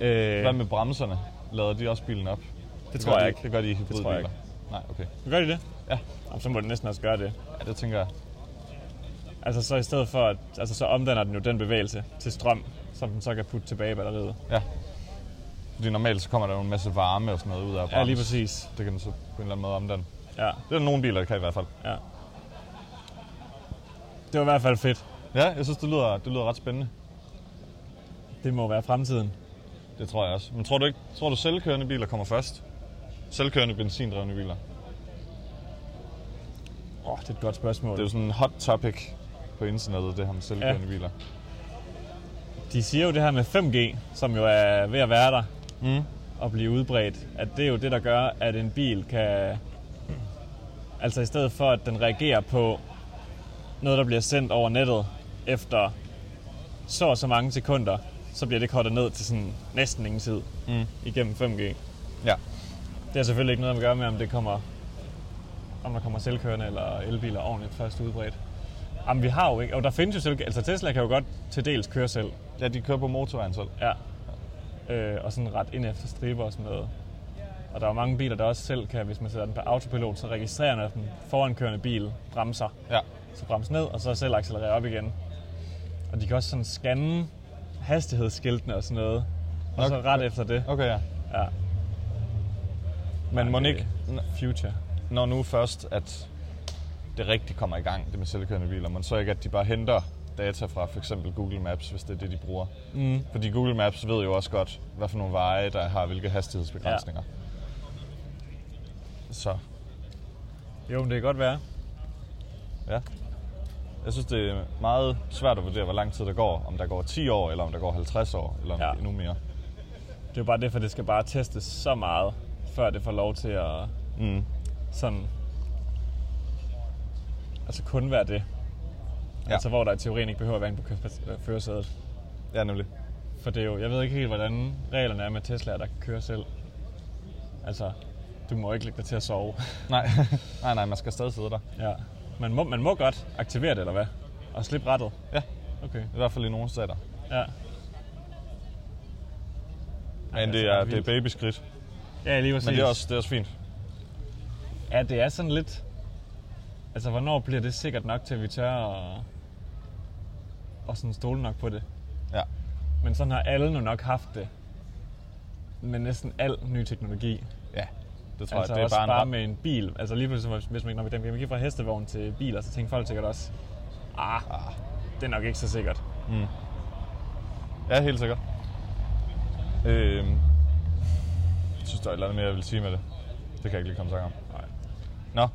Øh, Hvad med bremserne? Lader de også bilen op? det tror gør jeg de, ikke. Det gør de i tror jeg hybridbiler. Nej, okay. Gør de det? Ja. Jamen, så må den næsten også gøre det. Ja, det tænker jeg. Altså så i stedet for, at, altså så omdanner den jo den bevægelse til strøm, som den så kan putte tilbage i batteriet. Ja. Fordi normalt så kommer der jo en masse varme og sådan noget ud af bremsen. Ja, lige præcis. Det kan den så på en eller anden måde omdanne. Ja, Det er der nogle biler, der kan i hvert fald. ja. Det var i hvert fald fedt. Ja, jeg synes, det lyder, det lyder ret spændende. Det må være fremtiden. Det tror jeg også. Men tror du ikke, tror du selvkørende biler kommer først? Selvkørende benzindrevne biler. Åh, oh, det er et godt spørgsmål. Det er jo sådan en hot topic på internettet, det her med selvkørende ja. biler. De siger jo det her med 5G, som jo er ved at være der Mm. og blive udbredt, at det er jo det, der gør, at en bil kan... Altså i stedet for, at den reagerer på noget, der bliver sendt over nettet efter så og så mange sekunder, så bliver det kortet ned til sådan næsten ingen tid Mm. igennem 5G. Ja. Det har selvfølgelig ikke noget at gøre med, om det kommer om der kommer selvkørende eller elbiler ordentligt først udbredt. Jamen, vi har jo ikke... Og der findes jo selv... Altså, Tesla kan jo godt til dels køre selv. Ja, de kører på motorvejen selv. Ja. Øh, og sådan ret ind efter striber og sådan noget. Og der er jo mange biler, der også selv kan, hvis man sætter den på autopilot, så registrerer den, at den forankørende bil bremser. Ja. Så bremser ned, og så selv accelererer op igen. Og de kan også sådan scanne hastighedsskiltene og sådan noget. Og Nok- så ret efter det. Okay, ja. Ja. Men Ja, må det- ikke, n- Future. når nu først, at det rigtigt kommer i gang, det med selvkørende biler, men så ikke, at de bare henter data fra for eksempel Google Maps, hvis det er det, de bruger. Mm. Fordi Google Maps ved jo også godt, hvad for nogle veje, der har hvilke hastighedsbegrænsninger. Ja. Så Jo, men det kan godt være. ja. Jeg synes, det er meget svært at vurdere, hvor lang tid der går. Om der går 10 år, eller om der går 50 år, eller Ja. ja. endnu mere. Det er jo bare det, for det skal bare testes så meget, før det får lov til at Mm. sådan... Altså kun være det. Ja. Ja. Altså hvor der i teorien ikke behøver at være en på kø- øh, førersædet. Ja, nemlig. For det er jo, jeg ved ikke helt, hvordan reglerne er med Teslaer, der kan køre selv. Altså, du må ikke lægge dig til at sove. Nej, nej, nej, man skal stadig sidde der. ja. Man må, man må godt aktivere det, eller hvad? Og slippe rettet. Ja. Okay. I hvert fald i nogle stater. Ja. Ej, Men det altså, er, vildt. det er babyskridt. Ja, lige præcis. Men det er, også, det er også fint. Ja, det er sådan lidt... Altså, hvornår bliver det sikkert nok til, at vi tør og, og sådan stole nok på det? Ja. Men sådan har alle nu nok haft det. Med næsten al ny teknologi. Ja, det tror Altså jeg. Det er bare, bare en ret... med en bil. Altså lige pludselig, hvis- hvis man når vi dem gik fra hestevogn til biler, så tænker folk sikkert også, ah, det er nok ikke så sikkert. Ja, helt sikkert. Øhm, jeg synes, der er et eller andet mere, jeg vil sige med det. Det kan jeg ikke lige komme i tanke om. Nej. Nå,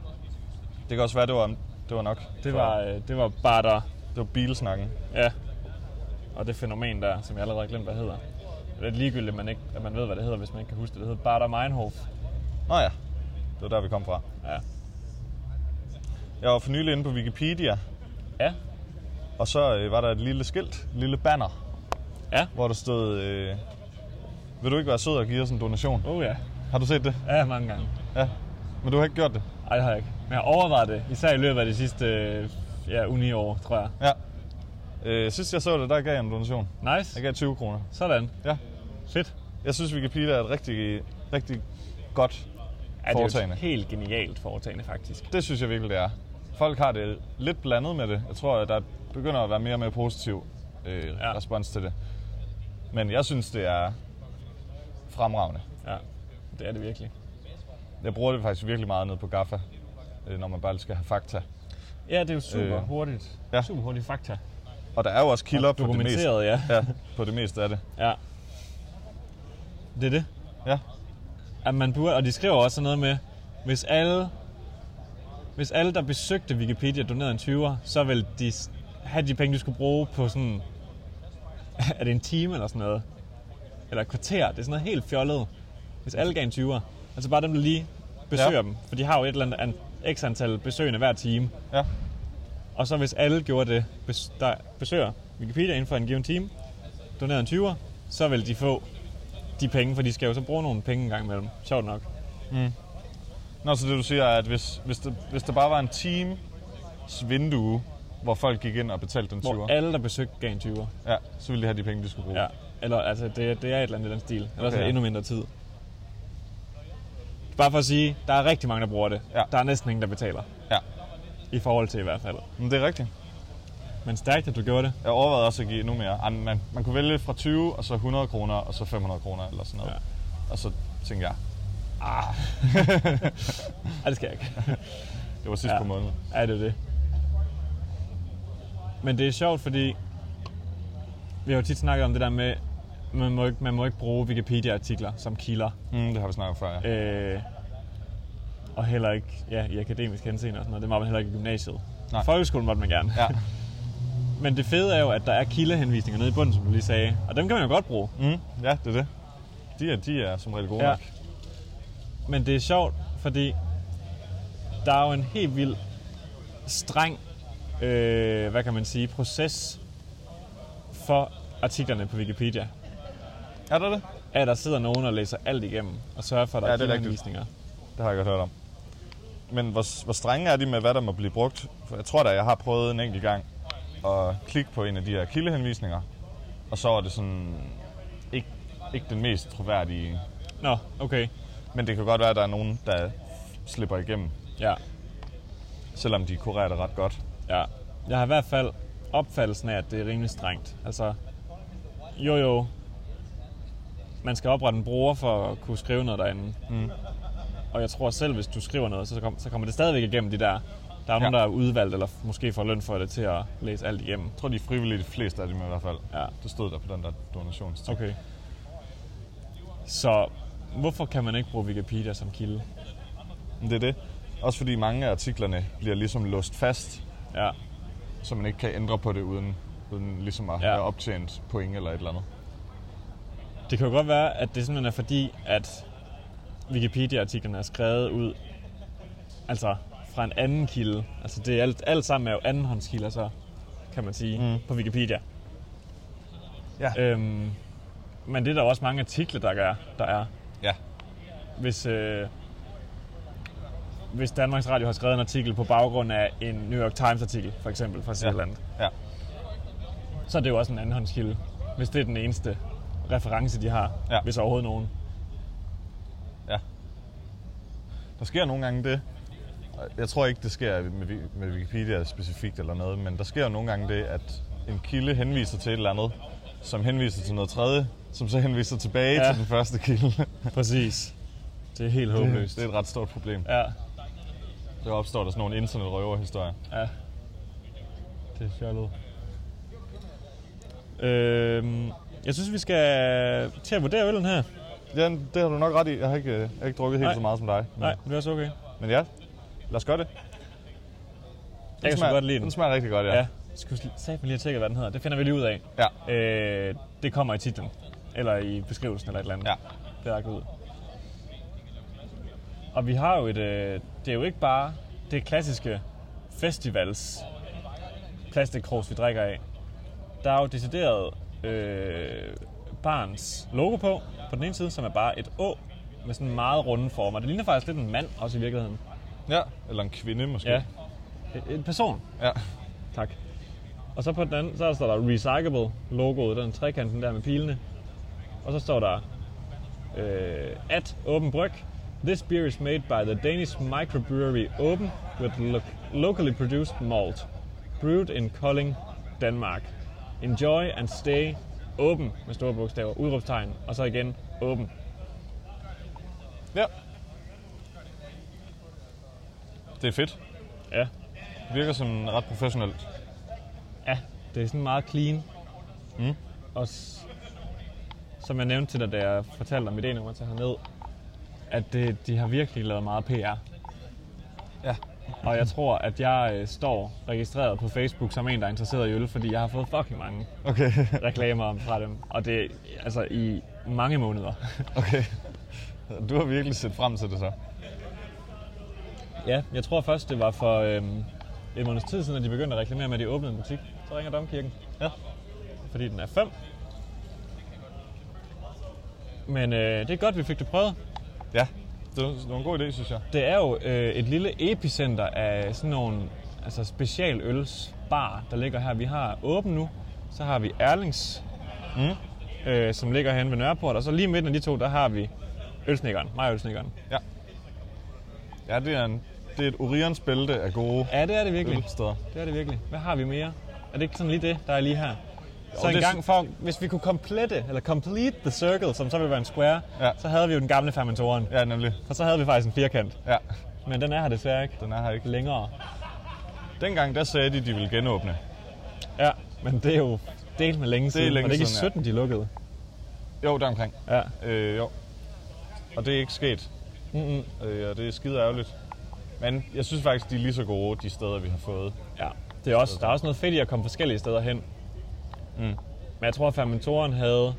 det kan også være, det var, det var nok. Det var, øh, det var bare der, det var bilsnakken. ja. Og det fænomen der, som jeg allerede har glemt, hvad hedder. Det er lidt ligegyldigt, at man, ikke, at man ved, hvad det hedder, hvis man ikke kan huske det. Det hedder Bader Meinhof. Nå ja, det var der, vi kom fra. Ja. Jeg var for nylig inde på Wikipedia, Ja, og så øh, var der et lille skilt, et lille banner, Ja. hvor der stod, øh, vil du ikke være sød og give os en donation? Oh ja. Har du set det? Ja, mange gange. Ja. Men du har ikke gjort det? Ej, det har jeg ikke. Men jeg har overvejet det, især i løbet af de sidste øh, ja, uni-år, tror jeg. Ja. Øh, sidst jeg så det, der gav jeg en donation. Jeg Nice. gav 20 kroner. Sådan. Ja. Fedt. Jeg synes, Wikipedia er et rigtig, rigtig godt Ja, det er jo foretagende. et helt genialt foretagende, faktisk. Det synes jeg virkelig, det er. Folk har det lidt blandet med det. Jeg tror, at der begynder at være mere og mere positiv øh, ja. respons til det. Men jeg synes, det er fremragende. Ja, det er det virkelig. Jeg bruger det faktisk virkelig meget nede på Gaffa, øh, når man bare lige skal have fakta. Ja, det er jo super Øh, hurtigt. ja. Super hurtigt fakta. Og der er jo også kilder på det, meste, Dokumenteret, ja. ja, på det meste af det. ja. Det er det. Ja. At man burde, og de skriver også sådan noget med, hvis alle, hvis alle der besøgte Wikipedia donerede en 20'er, så ville de s- have de penge, de skulle bruge på sådan, er det en time eller sådan noget? Eller et kvarter, det er sådan noget helt fjollet. Hvis alle gav en 20'er, altså bare dem, der lige besøger Ja. ja. dem, for de har jo et eller andet an, x antal besøgende hver time. Ja. Og så hvis alle gjorde det, bes, der besøger Wikipedia inden for en given time, donerer en 20'er, så vil de få de penge, for de skal jo så bruge nogle penge en gang imellem. Sjovt nok. Nå, så det du siger er, at hvis, hvis, det, hvis der bare var en times vindue, hvor folk gik ind og betalte den 20'er, Hvor alle, der besøgte, gav en 20'er. ja, så ville de have de penge, de skulle bruge. Ja. Eller altså, det, det er et eller andet i den stil. Eller okay, så er ja. det endnu mindre tid. Bare for at sige, der er rigtig mange, der bruger det. Ja. Der er næsten ingen, der betaler. Ja. I forhold til i hvert fald. Men det er rigtigt. Men stærkt, at du gjorde det. Jeg overvejede også at give endnu mere. Ej, Man, man kunne vælge fra 20, og så 100 kroner, og så 500 kroner, eller sådan noget. Ja. Ja. Og så tænkte jeg, Ej, det skal jeg ikke. det var sidst ja. Ja. på måneden. Ja, det er det. Men det er sjovt, fordi vi har jo tit snakket om det der med, man må ikke, man må ikke bruge Wikipedia-artikler som kilder. Mm, det har vi snakket om før, ja. Øh, og heller ikke ja, i akademisk henseende og sådan noget. Det må man heller ikke i gymnasiet. Nej. I folkeskolen måtte man gerne. ja. Men det fede er jo, at der er kildehenvisninger nede i bunden, som du lige sagde. Og dem kan man jo godt bruge. Mm, ja, det er det. De er, de er som regel gode ja. Ja. nok. Men det er sjovt, fordi der er jo en helt vild streng, øh, hvad kan man sige, proces for artiklerne på Wikipedia. Er der det? At der sidder nogen og læser alt igennem og sørger for, at der Ja, er det er rigtigt. kildehenvisninger. Det har jeg godt hørt om. Men hvor, hvor strenge er de med, hvad der må blive brugt? For jeg tror da, jeg har prøvet en enkelt gang at klikke på en af de her kildehenvisninger. Og så var det sådan ikke, ikke den mest troværdige. Nå, okay. Men det kan godt være, at der er nogen, der slipper igennem, Ja, selvom de kurerer det ret godt. ja. Jeg har i hvert fald opfattelsen af, at det er rimelig strengt. Altså, jo jo, man skal oprette en bruger for at kunne skrive noget derinde. Mm. Og jeg tror selv, hvis du skriver noget, så, kom, så kommer det stadigvæk igennem de der... Der er nogen, Ja. der er udvalgt, eller måske får løn for det til at læse alt igennem. Jeg tror, de er frivillige, de fleste af dem i hvert fald. Ja. Det stod der på den der donationsting. Okay. Så hvorfor kan man ikke bruge Wikipedia som kilde? Men det er det. Også fordi mange af artiklerne bliver ligesom låst fast, Ja, så man ikke kan ændre på det uden, uden ligesom at ja. Ja. have optjent point eller et eller andet. Det kan jo godt være, at det simpelthen er fordi, at Wikipedia-artiklerne er skrevet ud altså fra en anden kilde. Altså det er alt, alt sammen er jo andenhåndskilder, så kan man sige, mm. på Wikipedia. Ja. Øhm, men det er der også mange artikler, der er. Der er. Ja. Hvis, øh, hvis Danmarks Radio har skrevet en artikel på baggrund af en New York Times-artikel, for eksempel, fra Ja. Zealand, ja. ja. så er det jo også en andenhåndskilde, hvis det er den eneste reference, de har, Ja. ja. hvis overhovedet nogen. Ja. Der sker nogle gange det. Jeg tror ikke, det sker med, Vi- med Wikipedia specifikt eller noget, men der sker jo nogle gange det, at en kilde henviser til et eller andet, som henviser til noget tredje, som så henviser tilbage ja. Ja. til den første kilde. Præcis. Det er helt håbløst. det er et ret stort problem. Ja, Der opstår der sådan nogle internetrøverhistorier. ja. Det er fjollet. Øhm, jeg synes, vi skal til at vurdere øllen her. Ja, det har du nok ret i. Jeg har ikke, jeg har ikke drukket helt Nej. Nej. så meget som dig. Men, Nej, det er også okay. men ja, lad os gøre det. Jeg kan så godt lide den. den. smager rigtig godt, ja. Ja, jeg skulle sagde lige at tjekke, hvad den hedder. Det finder vi lige ud af. ja. Øh, det kommer i titlen. Eller i beskrivelsen eller et eller andet. Ja. Det er ud. Og vi har jo et... Øh, det er jo ikke bare det klassiske festivals plastikkros, vi drikker af. Der er jo decideret øh, barns logo på, på den ene side, som er bare et å med sådan meget runde former. Det ligner faktisk lidt en mand også i virkeligheden. ja. Eller en kvinde måske. Ja. En person. ja. Tak. Og så på den anden, så står der recyclable logoet, den trekanten der med pilene. Og så står der øh, at Åben Bryg. This beer is made by the Danish microbrewery Åben with lo- locally produced malt. Brewed in Kolding, Danmark. Enjoy and stay åben med store bogstaver, udråbstegn, og så igen åben. Ja. Det er fedt. Ja, Det virker sådan ret professionelt. Ja, det er sådan meget clean. Mm. Og s- som jeg nævnte til dig, da jeg fortalte om ideen om at tage herned, at det, de har virkelig lavet meget PR. Ja. Og jeg tror, at jeg øh, står registreret på Facebook som en, der er interesseret i øl, fordi jeg har fået fucking mange Okay. reklamer fra dem. Og det er altså i mange måneder. okay. Du har virkelig set frem til det så. ja, jeg tror først, det var for øhm, en måneds tid siden, at de begyndte at reklamere med, at de åbnede en butik. Så ringer Domkirken. Ja. fordi den er 5. Men øh, det er godt, vi fik det prøvet. Ja. Det var, det var en god idé, synes jeg. Det er jo øh, et lille epicenter af sådan nogle altså specialølsbar, der ligger her. Vi har åben nu, så har vi Erlings, mm. øh, som ligger herinde ved Nørreport, og så lige midten af de to, der har vi ølsnikkeren, mig og ølsnikkeren. Ja, det er, en, det er et Orions bælte af gode Ja, det er det virkelig. ølsteder. Det er det virkelig. Hvad har vi mere? Er det ikke sådan lige det, der er lige her? Så det en er gang for, hvis vi kunne complete, eller complete the circle, som så ville være en square, Ja. så havde vi jo den gamle fermentoren. Ja, nemlig. Og så havde vi faktisk en firkant. Ja, Men den er her desværre ikke den er her ikke. længere. Dengang der sagde de, de ville genåbne. Ja, men det er jo delt med længe siden. længe Var det ikke i siden, ja. 17, de lukkede? Jo, der omkring. Ja. Øh, jo. Og det er ikke sket. Mm-hmm. Øh, og det er skide ærgerligt. Men jeg synes faktisk, de er lige så gode, de steder, vi har fået. ja. Det er også, der er også noget fedt i at komme forskellige steder hen. Mm. Mm. Men jeg tror, at fermentoren havde...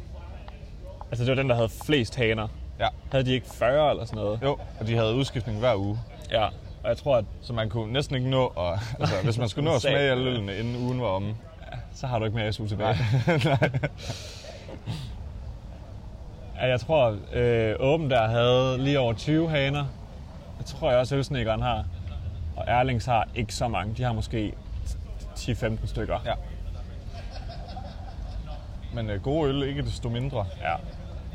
Altså, det var den, der havde flest haner. Ja. Havde de ikke 40 eller sådan noget? Jo, og de havde udskiftning hver uge. Ja. Og jeg tror, at Så man kunne næsten ikke nå, at, altså, hvis man skulle nå at Sag. smage alle ølene, inden ugen var omme. så har du ikke mere SU tilbage. Ja, jeg tror, øh, Åben der havde lige over 20 haner. Jeg tror jeg også, Ølsnikkeren har. Og Erlings har ikke så mange. De har måske 10-15 stykker. Ja. Men øh, gode øl, ikke desto mindre. ja.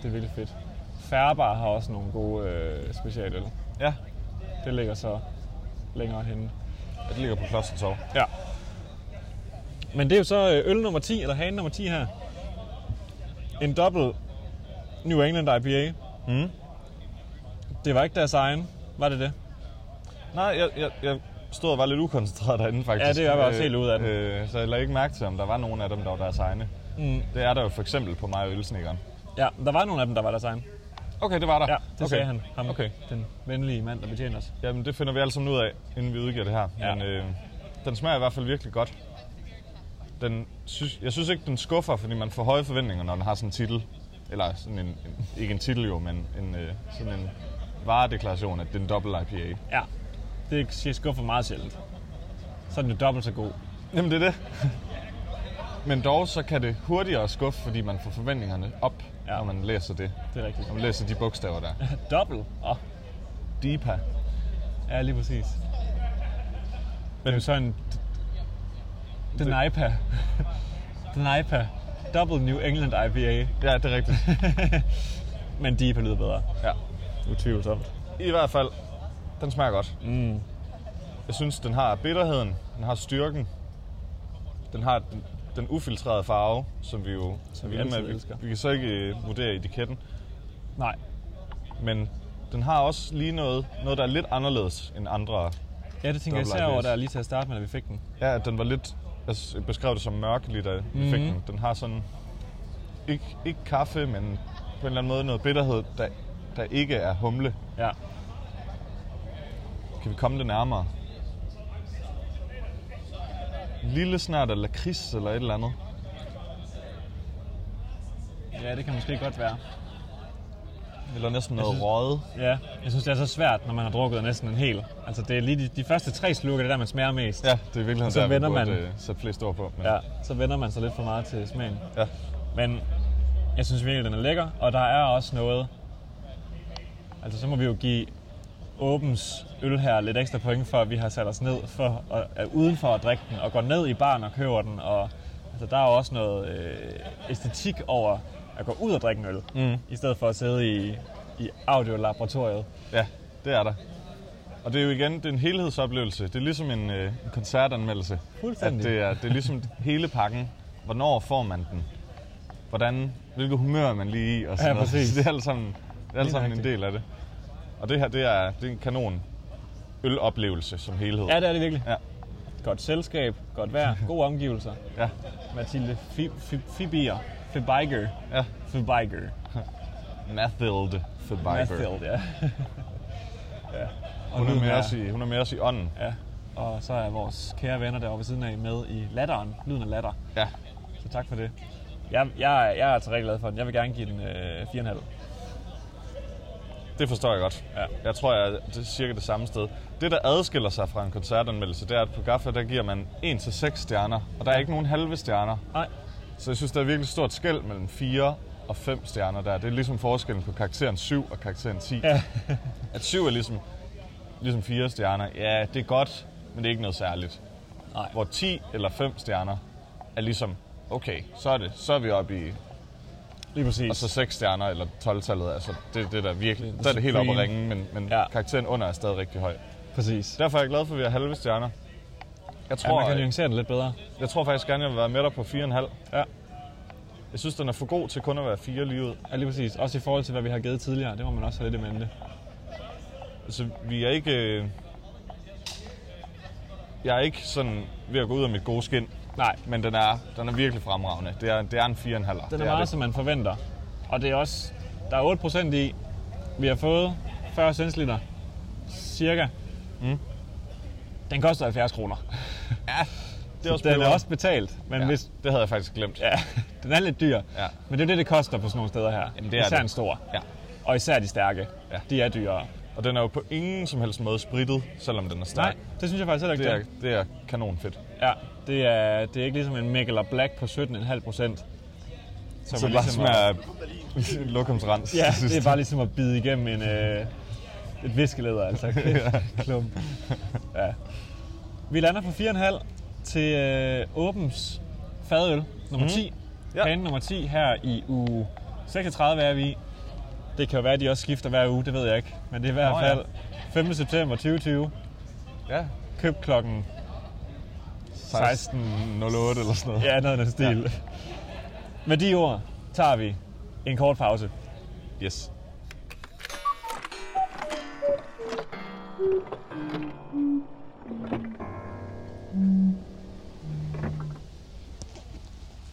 Det er virkelig fedt. Færbar har også nogle gode øh, specialøl. Ja, Det ligger så længere henne. og det ligger på klodsen så. Ja. Men det er jo så øh, øl nummer 10, eller hane nummer 10 her. En dobbelt New England IPA. Mm. Det var ikke deres egen, var det det? Nej, jeg, jeg, jeg stod og var lidt ukoncentreret derinde faktisk. Ja, det er jeg også helt ude af den. Øh, så jeg lagde ikke mærke til, om der var nogen af dem, der var deres egne. Mm. Det er der jo for eksempel på mig og ølsnikkeren. Ja, der var nogle af dem, der var deres egen. Okay, det var der. Ja, det okay. okay. sagde han. Ham, Okay. Den venlige mand, der betjener os. Jamen, det finder vi alle sammen ud af, inden vi udgiver det her. Ja. Men øh, den smager i hvert fald virkelig godt. Den synes, jeg synes ikke, den skuffer, fordi man får høje forventninger, når den har sådan en titel. Eller sådan en, en ikke en titel jo, men en, øh, sådan en varedeklaration, at det er en dobbelt IPA. Ja, det er ikke- jeg skuffer meget sjældent. Så er den jo dobbelt så god. Jamen, det er det. men dog, så kan det hurtigere skuffe, fordi man får forventningerne op, Ja. ja. når man læser det. Det er rigtigt. Når man læser de bogstaver der. Dobbelt? Oh, Deepa. ja, lige præcis. Men det er jo så en... Den IPA. Den IPA. Double New England IPA. Ja, det er rigtigt. Men DIPA lyder bedre. ja. Utvivlsomt. I hvert fald, den smager godt. Mm. Jeg synes, den har bitterheden, den har styrken, den har den, den ufiltrerede farve, som vi jo Som vi er vilde altid vi, elsker. vi kan så ikke øh, vurdere etiketten, Nej, men den har også lige noget, noget der er lidt anderledes end andre. ja, det tænker jeg Double især over, IPAs. der lige til at starte med, da vi fik den. Ja, at den var lidt, jeg s- beskrev det som mørk lige da Mhm. vi fik den. Den har sådan, ikke, ikke kaffe, men på en eller anden måde noget bitterhed, der, der ikke er humle. Ja. Kan vi komme det nærmere? Lille snart af lakrids eller et eller andet. ja, det kan måske godt være. Eller næsten noget synes- røget. Ja, jeg synes, det er så svært, når man har drukket næsten en hel. Altså, det er lige de, de første tre slurke, det er der, man smager mest. Ja, det er virkelig så der, vi vender burde man. øh, sætte flest ord på. Men, ja. Så vender man sig lidt for meget til smagen. ja. Men jeg synes virkelig, den er lækker, og der er også noget... Altså, så må vi jo give Åbens øl her lidt ekstra point for, at vi har sat os ned for at, er uden for at drikke den, og går ned i baren og køber den. Og, altså, der er jo også noget øh, æstetik over at gå ud og drikke en øl, mm. i stedet for at sidde i, i audiolaboratoriet. Ja, det er der. Og det er jo igen, det er en helhedsoplevelse. Det er ligesom en, øh, en koncertanmeldelse. Fuldstændig. At det, er, det er ligesom hele pakken. Hvornår får man den? Hvordan, hvilket humør er man lige i? Og sådan Ja, noget. præcis. Det er alt sammen, det er alt sammen en nøjagtigt. del af det. Og det her, det er, det er en kanon øloplevelse som helhed. Ja, det er det virkelig. Ja. Godt selskab, godt vejr, gode omgivelser. Ja, Mathilde Fi- Fi- Fibier, Fibiger, ja. Fibiger, Mathild for Biber. Mathilde, ja. ja. Og Hun er, nu med her- os i, hun er med os i ånden. Ja, og så er vores kære venner derovre ved siden af med i latteren, lyden af latter. Ja. Så tak for det. Jeg, jeg, jeg er altså rigtig glad for den. Jeg vil gerne give den øh, 4,5. Det forstår jeg godt. Ja. Jeg tror, jeg er det- cirka det samme sted. Det, der adskiller sig fra en koncertanmeldelse, det er, at på Gaffa, der giver man 1-6 stjerner, og der er ikke nogen halve stjerner. Nej, Så jeg synes, der er virkelig stort skæld mellem 4 og 5 stjerner der. Det er ligesom forskellen på karakteren 7 og karakteren 10. Ja. at 7 er ligesom, ligesom 4 stjerner. Ja, det er godt, men det er ikke noget særligt. Nej. Hvor 10 eller 5 stjerner er ligesom, okay, så er det, så er vi oppe i lige præcis. og så 6 stjerner eller 12-tallet, altså det, det er der virkelig, der er det helt supreme. oppe at ringe, men, men ja. Altså Ja. karakteren under er stadig rigtig høj. præcis. Derfor er jeg glad for, at vi har halve stjerner. Jeg Ja, tror, man kan jeg, nuancere den lidt bedre. jeg tror faktisk gerne, jeg vil være med dig på 4,5. Ja. Jeg synes, den er for god til kun at være 4 lige ud. Ja, lige præcis. Også i forhold til, hvad vi har givet tidligere. Det må man også have lidt i mente. Altså, vi er ikke... Øh... Jeg er ikke sådan ved at gå ud af mit gode skin, Nej, men den er, den er virkelig fremragende. Det er, det er en 4,5. Den Den er, er meget, som man forventer. Og det er også... Der er 8% i. Vi har fået 40 centiliter. Cirka. Mm. Den koster 70 kroner. det er også, Den er peber. også betalt, men ja. Ja, hvis... det havde jeg faktisk glemt. Ja, den er lidt dyr. Ja. Men det er det, det koster på sådan nogle steder her. Jamen, det er især det. en stor. Ja. Og især de stærke. Ja. De er dyrere. Og den er jo på ingen som helst måde spritet, selvom den er Nej, stærk. det synes jeg faktisk heller ikke. Det er, den- det er kanon fedt. Ja, det er, det er ikke ligesom en Mikkel og Black på 17,5 procent. Som Så er det bare ligesom smager lokumsrens. Ja, det er bare ligesom at bide igennem en, øh, et viskeleder, altså. Klump. Ja. Vi lander på 4,5 til øh, Åbens fadøl nummer 10. Ja. Mhm. Ja. Pande nummer 10 her i uge 36 er vi i. Det kan jo være, at de også skifter hver uge, det ved jeg ikke. Men det er i hvert Nå, fald 5. september 2020. Ja, Køb klokken 16. 16.08 eller sådan noget. Ja, noget af den stil. Ja. Med de ord tager vi en kort pause. Yes.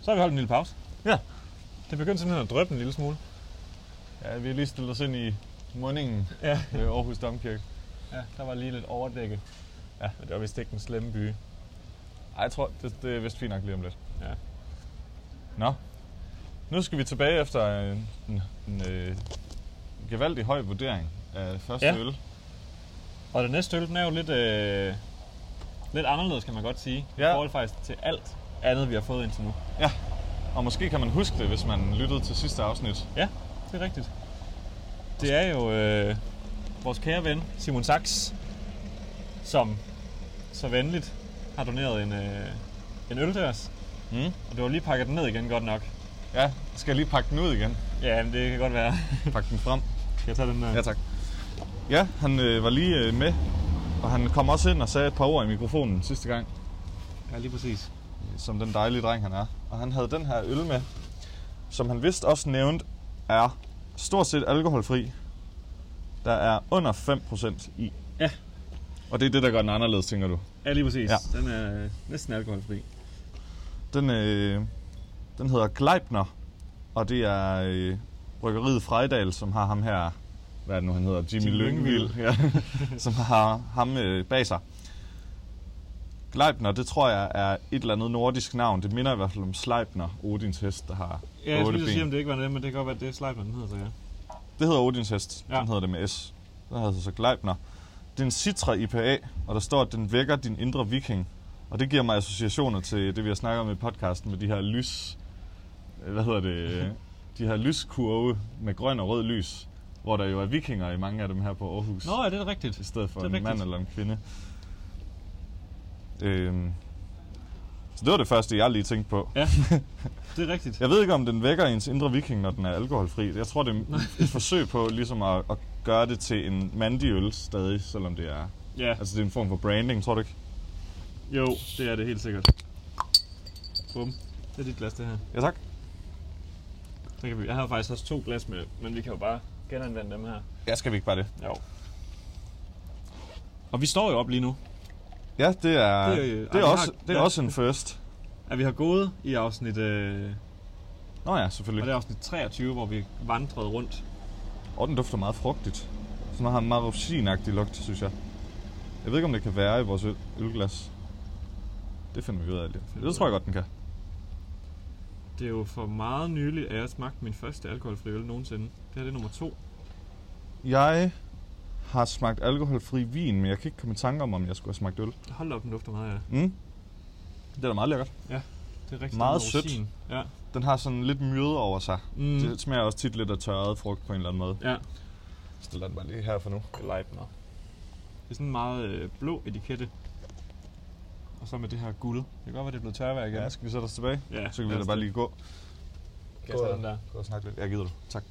Så har vi holdt en lille pause. Ja. Det begyndte simpelthen at drøbe en lille smule. ja, vi har lige stillet os ind i mundingen Ja. ved Aarhus Domkirke. Ja, der var lige lidt overdækket. Ja. Men det var vist ikke den slemme by. Ej, jeg tror, det, det er vist fint nok lige om lidt. Ja. Nå. Nu skal vi tilbage efter en, en, en øh, gevaldig høj vurdering af første Ja. øl. Og det næste øl, den er jo lidt, øh, lidt anderledes, kan man godt sige. Ja. I forhold faktisk til alt andet, vi har fået indtil nu. Ja. Og måske kan man huske det, hvis man lyttede til sidste afsnit. Ja, det er rigtigt. Det er jo øh, vores kære ven, Simon Sachs, som så venligt har doneret en, øh, en øl til os. Mm. Og du har lige pakket den ned igen godt nok. Ja, skal jeg lige pakke den ud igen? Ja, men det kan godt være. Pakke den frem. Skal jeg tage den øh? der? Ja, tak. Ja, han øh, var lige øh, med, og han kom også ind og sagde et par ord i mikrofonen sidste gang, ja lige præcis. som den dejlige dreng han er. Og han havde den her øl med, som han vist også nævnte, er stort set alkoholfri. Der er under 5% i. Ja. Og det er det, der gør den anderledes, tænker du? Ja, lige præcis. Ja. Den er øh, næsten alkoholfri. Den, øh, den hedder Gleipner, og det er øh, bryggeriet Frejdal, som har ham her, hvad er det nu, han hedder? Jimmy Jimmy Lyngvild, ja, som har ham øh, bag sig. Gleipner, det tror jeg er et eller andet nordisk navn. Det minder i hvert fald om Sleipner, Odins hest, der har Ja, jeg otte skulle lige ben. sige, om det ikke var det, men det kan godt være, at det er Sleipner, den hedder så, ja. Det hedder Odins hest. Ja. Ja. Den hedder det med S. Den hedder altså så Gleipner. Det er en Citra IPA, og der står, at den vækker din indre viking. Og det giver mig associationer til det, vi har snakket om i podcasten med de her øh, lys... Hvad hedder det? De her lyskurve med grøn og rød lys. Hvor der jo er vikinger i mange af dem her på Aarhus. Nå, ja, det er rigtigt. I stedet for Det en er rigtigt. mand rigtigt. eller en kvinde. Øhm. Så det var det første, jeg lige tænkte på. Ja, det er rigtigt. Jeg ved ikke, om den vækker ens indre viking, når den er alkoholfri. Jeg tror, det er et forsøg på ligesom at, at gøre det til en mandig øl stadig, selvom det er... Ja, Altså, det er en form for branding, tror du ikke? jo, det er det helt sikkert. Bum. Det er dit glas, det her. Ja, tak. Det kan vi. Jeg har faktisk også to glas med, men vi kan jo bare genanvende dem her. Ja, skal vi ikke bare det? Jo. Og vi står jo op lige nu. Ja, det er, Det er- det er, ej, vi også, har- det er ja. også en first. At vi har gået i afsnit, øh, Nå ja, og det selvfølgelig. er afsnit 23, hvor vi vandrede rundt. Og den dufter meget frugtigt. Sådan har en meget rosinagtig lugt, synes jeg. Jeg ved ikke, om det kan være i vores øl- ølglas. Det finder vi ud af lige. Det tror jeg godt, den kan. Det er jo for meget nylig, at jeg smagte min første alkoholfri øl nogensinde. Det her det er nummer to. Jeg har smagt alkoholfri vin, men jeg kan ikke komme i tanke om, om jeg skulle have smagt øl. Hold da op, den lugter meget af. Ja. Mm. Det er da meget lækkert. Det er rigtig Meget meget sødt. rosin. Ja. Den har sådan lidt myde over sig. Mm. Mm. Det smager også tit lidt af tørret frugt på en eller anden måde. Ja. Stiller den bare lige her for nu. Leibner. Det er sådan en meget øh, blå etikette. Og så med det her guld. Det kan godt være, det er blevet tørvejr igen. Ja, skal vi sætte os tilbage? ja. Så kan vi da bare lige gå. Kan jeg tage den der? Gå og snakke lidt. Jeg gider du. Tak.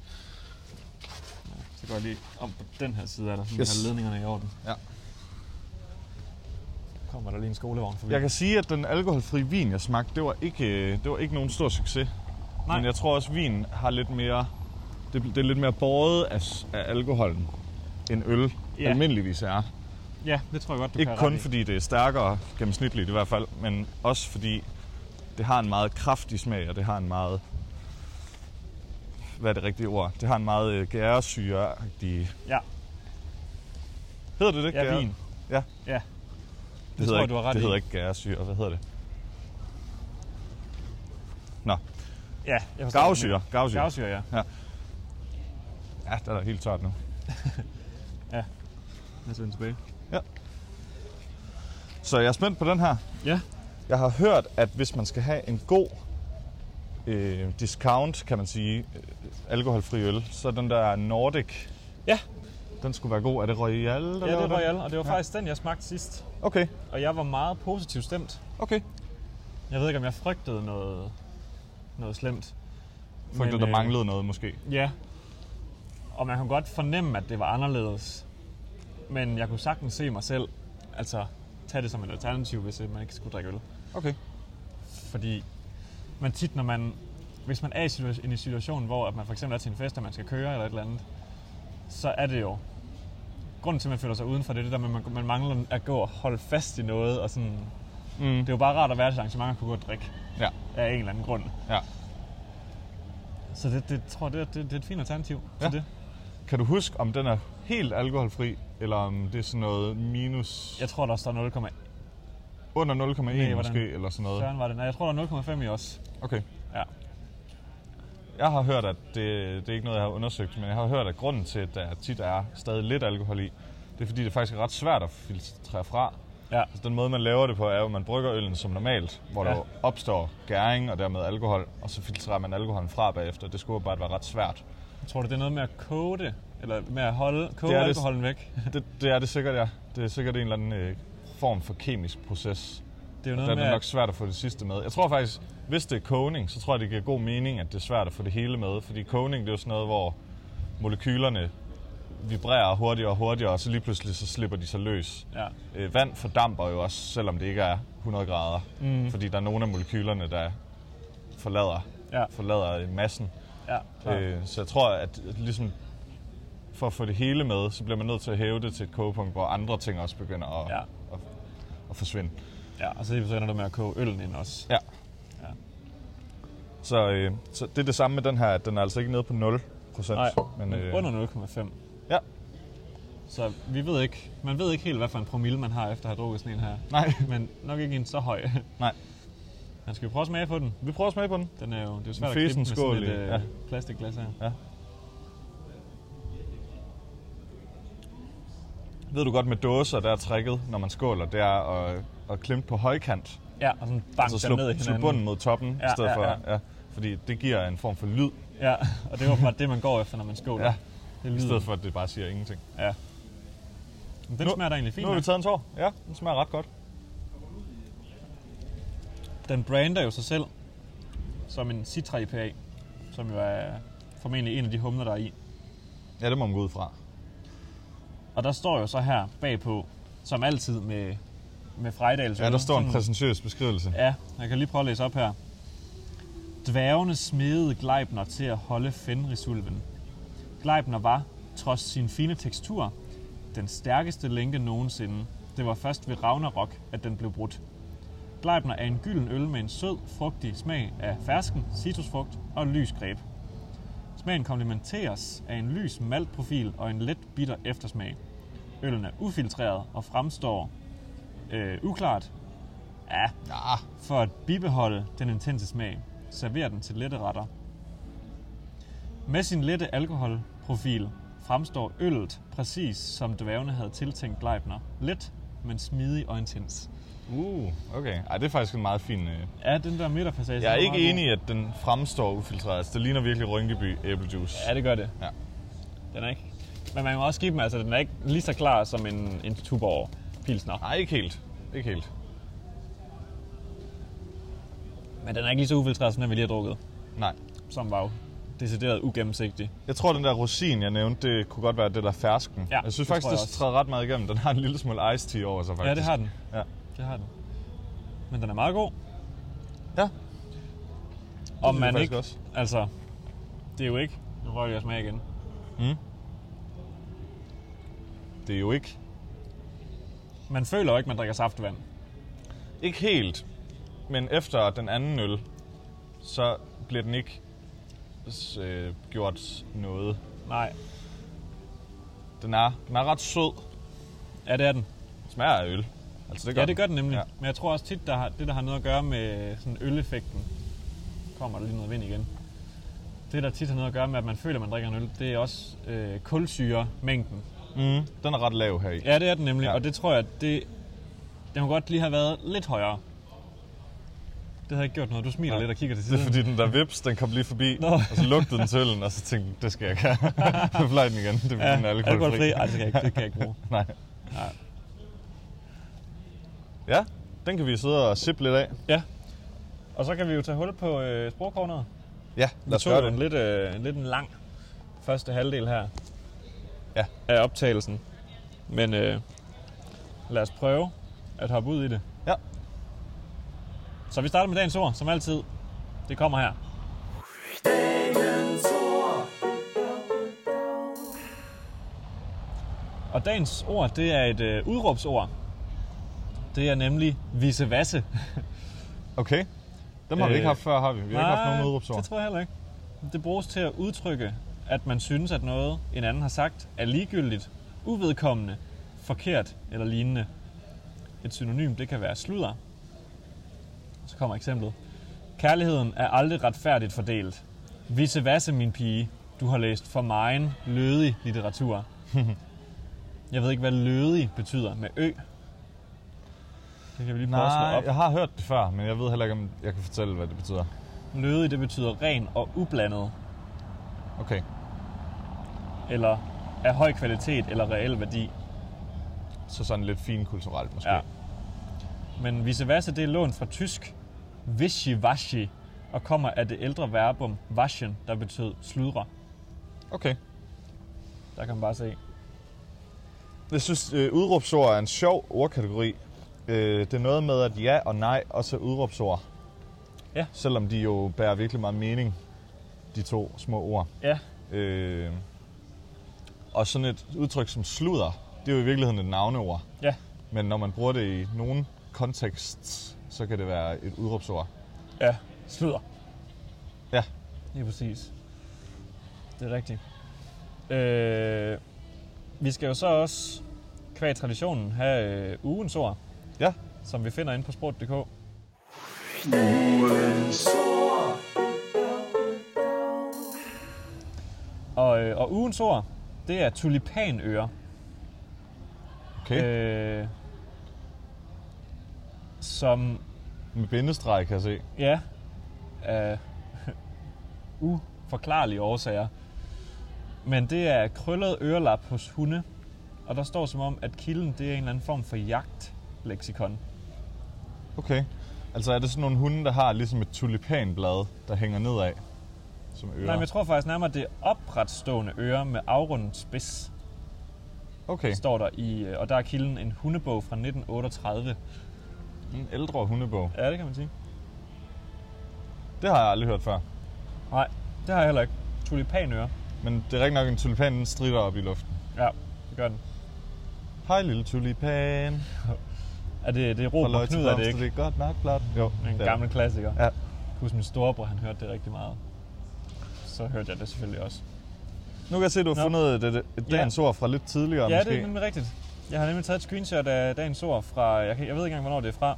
Så går jeg lige om på den her side af der, så yes. Yes. har ledningerne i orden. Ja. Kommer der lige en skolevogn forbi? Jeg kan sige, at den alkoholfri vin, jeg smagte, det var ikke, øh, det var ikke nogen stor succes. Nej. Nej. Men jeg tror også, at vin har lidt mere... Det, det er lidt mere båret af, s- af alkoholen, end øl Ja. ja. almindeligvis er. Ja, det tror jeg godt, du Ikke kan kun fordi det er stærkere gennemsnitligt i hvert fald, men også fordi det har en meget kraftig smag, og det har en meget... Hvad er det rigtige ord? Det har en meget øh, gæresyreagtig... Ja. Hedder det det? Ja, gære? vin. Ja. Ja. Det, det tror hedder jeg, ikke, du har ret Det i. hedder ikke gæresyre. Hvad hedder det? Nå, Ja, jeg forstår gavsyre. det. Gavsyre. Gavsyre, ja. Ja, der er da helt tørt nu. Lad os vende tilbage. Så jeg er spændt på den her. Ja. Jeg har hørt, at hvis man skal have en god øh, discount, kan man sige, øh, alkoholfri øl, så den der Nordic, Ja. den skulle være god. Er det Royal? der Ja, laver det den? var jeg, og det var faktisk den, jeg smagte sidst. Okay, Og jeg var meget positivt stemt. okay. Jeg ved ikke, om jeg frygtede noget, noget slemt. Frygtede, Men, der øh, manglede noget måske. Ja. Og man kunne godt fornemme, at det var anderledes. Men jeg kunne sagtens se mig selv, altså tage det som et alternativ, hvis øh, man ikke skulle drikke øl. Okay. Fordi man tit, når man, hvis man er i situa- i en situation, hvor at man for eksempel er til en fest, og man skal køre eller et eller andet, så er det jo, grunden til, at man føler sig udenfor, det er det der med, at man- man mangler at gå og holde fast i noget, og sådan, Mm. det er jo bare rart at være til arrangementer og kunne gå og drikke Ja, af en eller anden grund. ja. Så det, det tror jeg, det, er- det, det er et fint alternativ ja. Ja. til det. Kan du huske, om den er helt alkoholfri, eller om det er sådan noget minus Jeg tror, der står 0,1. under 0,1 hvordan- måske, eller sådan noget? Søren var det. Nej, jeg tror, der er 0,5 i os. Okay. Ja. Jeg har hørt, at det, det er ikke noget, jeg har undersøgt, men jeg har hørt, at grunden til, at der tit er stadig lidt alkohol i, det er fordi, det faktisk er ret svært at filtrere fra. Ja. Altså, den måde, man laver det på, er jo, at man brygger øllen som normalt, hvor Ja. ja. der opstår gæring og dermed alkohol, og så filtrerer man alkoholen fra bagefter. Det skulle bare være ret svært. Tror du, det er noget med at koge det? Eller med at holde, koge Det er det- alkoholen væk? Det, det er det sikkert, ja. Det er sikkert en eller anden øh, form for kemisk proces. Det er jo Der er noget med, det nok at, svært at få det sidste med. Jeg tror faktisk, hvis det er kogning, så tror jeg, det giver god mening, at det er svært at få det hele med. Fordi kogning, det er jo sådan noget, hvor molekylerne vibrerer hurtigere og hurtigere, og så lige pludselig så slipper de sig løs. ja, Øh, vand fordamper jo også, selvom det ikke er 100 grader. Mm. Fordi der er nogle af molekylerne, der forlader, Ja. forlader massen. ja, klar. Øh, så jeg tror, at ligesom for at få det hele med, så bliver man nødt til at hæve det til et kogepunkt, hvor andre ting også begynder at, Ja. at, at forsvinde. ja. Og så lige pludselig ender du med at koge øllen ind også. Ja. Ja. Så, øh, så det er det samme med den her, at den er altså ikke nede på 0 procent. Nej, men øh... under 0,5. Ja. Så vi ved ikke, man ved ikke helt, hvad for en promille man har, efter at have drukket sådan en her. Nej, Men nok ikke en så høj. Nej. Man skal jo prøve at smage på den. vi prøver at smage på den. Den er jo, det er jo svært at fesen klippe med skål sådan et i, øh, ja. plastikglas her. Ved du godt med dåser, der er tricket, når man skåler, det er at, at klimpe på højkant. Ja, og sådan bang altså altså, slå, den ned i slå hinanden. bunden mod toppen Ja, i stedet ja, for. ja. Ja, fordi det giver en form for lyd. Ja, og det er åbenbart det, man går efter, når man skåler. Ja. Det I lyder. stedet for, at det bare siger ingenting. Ja. Men den Nu- smager da egentlig fint. Nu har vi nok. taget en tår. Ja, den smager ret godt. Den brander jo sig selv som en Citra IPA, som jo er formentlig en af de humler, der er i. Ja, det må man gå ud fra. Og der står jo så her bagpå, som altid med, med Frejdals Ja, der står en præsentøs beskrivelse. Mm. Ja, jeg kan lige prøve at læse op her. Dværgene smedede Gleibner til at holde Fenrisulven. Gleibner var, trods sin fine tekstur, den stærkeste lænke nogensinde. Det var først ved Ragnarok, at den blev brudt. Gleibner er en gylden øl med en sød, frugtig smag af fersken, citrusfrugt og lys greb. Smagen komplementeres af en lys maltprofil og en let bitter eftersmag. Øllen er ufiltreret og fremstår øh, uklart. Ja, Ja, for at bibeholde den intense smag, server den til lette retter. Med sin lette alkoholprofil fremstår øllet præcis som dværgene havde tiltænkt Gleibner. Let, men smidig og intens. uh, okay. Ej, det er faktisk en meget fin... Øh. Ja, den der midterpassage. Jeg er den ikke meget enig i, god. at den fremstår ufiltreret. Altså, det ligner virkelig Rynkeby æblejuice. Ja, det gør det. Ja. Den er ikke. Men man må også give dem, altså den er ikke lige så klar som en, en Tuborg Pilsner. Nej, ikke helt. Ikke helt. Men den er ikke lige så ufiltreret, som den vi lige har drukket. Nej. Som var jo decideret ugennemsigtig. Jeg tror, den der rosin, jeg nævnte, det kunne godt være det der fersken. Ja, jeg synes det faktisk, tror jeg det også. træder ret meget igennem. Den har en lille smule ice tea over sig, faktisk. Ja, det har den. Ja. Det har den. Men den er meget god. Ja, Om synes jeg man faktisk ikke... også. Også. Altså, det er jo ikke... Nu røg jeg smag igen. det er jo ikke... Man føler jo ikke, man drikker saftevand. Ikke helt. Men efter den anden øl, så bliver den ikke s- øh, gjort noget. Nej. Den er, den er ret sød. Ja, det er den. Smager af øl. Altså, det gør Ja, det gør den nemlig. Ja. Ja. Men jeg tror også tit, der har, det der har noget at gøre med sådan øleffekten. Kommer der lige noget vind igen. Det, der tit har noget at gøre med, at man føler, man drikker en øl, det er også øh, kulsyremængden. Mm, den er ret lav her i. Ja, det er den nemlig. Ja. Ja. Og det tror jeg, det, den kunne godt lige have været lidt højere. Det havde ikke gjort noget. Du smiler Nej. lidt og kigger til Det siden. er fordi den der vips, den kom lige forbi, Nå. og så lugtede den til øllen, og så tænkte jeg, det skal jeg ikke have. Så fløj den igen, det er ja, den er alkoholfri. alkoholfri. Ej, det kan jeg ikke, det kan jeg ikke bruge. Nej. Ja, den kan vi sidde og sippe lidt af. Ja. Og så kan vi jo tage hul på øh, sprogkornet. Ja, lad Vi os gøre tog jo en det. lidt, øh, en lidt en lang første halvdel her Ja. af optagelsen. Men øh, lad os prøve at hoppe ud i det. Ja. Så vi starter med dagens ord, som altid. Det kommer her. Og dagens ord, det er et øh, udråbsord. Det er nemlig vice-vasse. Okay. Dem har vi Øh, ikke haft før, har vi? Vi har ikke haft Nej, nogen det udråbsord. tror jeg heller ikke. Det bruges til at udtrykke, at man synes, at noget, en anden har sagt, er ligegyldigt, uvedkommende, forkert eller lignende. Et synonym, det kan være sludder. Så kommer eksemplet. Kærligheden er aldrig retfærdigt fordelt. Visse vasse, min pige. Du har læst for megen lødig litteratur. jeg ved ikke, hvad lødig betyder med ø. Det kan vi lige prøve at slå Nej, op. jeg har hørt det før, men jeg ved heller ikke, om jeg kan fortælle, hvad det betyder. Lødig, det betyder ren og ublandet. Okay. eller af høj kvalitet eller reel værdi. Så sådan lidt finkulturelt måske. Ja. Men vice versa, det er lånt fra tysk wishy-washy, og kommer af det ældre verbum waschen, der betød sludre. Okay. Der kan man bare se. Jeg synes, øh, udråbsord er en sjov ordkategori. Øh, det er noget med, at ja og nej også er udråbsord. Ja. Selvom de jo bærer virkelig meget mening, de to små ord. Ja, Øh, og sådan et udtryk som sludder, det er jo i virkeligheden et navneord. ja, Men når man bruger det i nogen kontekst, så kan det være et udråbsord. ja. Sludder. Ja. Lige præcis. Det er rigtigt. Øh, vi skal jo så også, kvæg traditionen, have øh, ugens ord, Ja, som vi finder inde på sport.dk. Og, øh, og ugens ord, det er tulipanører. okay. Øh. Øh, som, Med bindestreg kan jeg se. ja, af uforklarlige årsager, Men det er krøllet ørelap hos hunde. Og der står som om, at kilden det er en eller anden form for jagtleksikon. Okay. Altså er det sådan nogle hunde, der har ligesom et tulipanblad, der hænger nedad? Som ører? Nej, men jeg tror faktisk nærmere, at det er opretstående ører med afrundet spids, Okay. står der i. øh, Og der er kilden en hundebog fra 1938. En ældre hundebog. Ja, det kan man sige. Det har jeg aldrig hørt før. Nej, det har jeg heller ikke. Tulipanører. Men det er rigtig nok en tulipan, den strider op i luften. Ja, det gør den. Hej lille tulipan. Er det, det er Fra Robert løg til Knud, er det blomster, ikke? Det er godt nok blot. Jo, Det er en det er gammel klassiker. Ja. Jeg husker min storebror, han hørte det rigtig meget. Så hørte jeg det selvfølgelig også. Nu kan jeg se, at du har Nå. fundet et, et, et Ja. dagens ord fra lidt tidligere Ja, måske. det er nemlig rigtigt. Jeg har nemlig taget et screenshot af dagens ord fra, jeg, kan, jeg ved ikke engang, hvornår det er fra.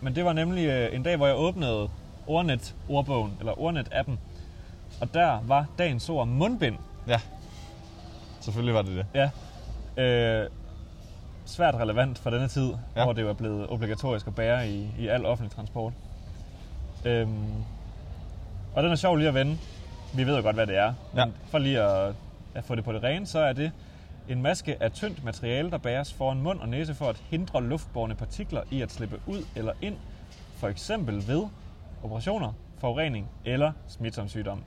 Men det var nemlig øh, en dag, hvor jeg åbnede Ordnet-ordbogen, eller Ordnet-appen. Og der var dagens ord mundbind. Ja. Selvfølgelig var det det. Ja. Øh, svært relevant for denne tid, ja. Ja. hvor det jo er blevet obligatorisk at bære i, i al offentlig transport. Øhm, og den er sjov lige at vende. Vi ved jo godt, hvad det er. Ja. Men for lige at, at få det på det rene, så er det en maske af tyndt materiale, der bæres foran mund og næse for at hindre luftbårne partikler i at slippe ud eller ind, for eksempel ved operationer, forurening eller smitsom sygdom.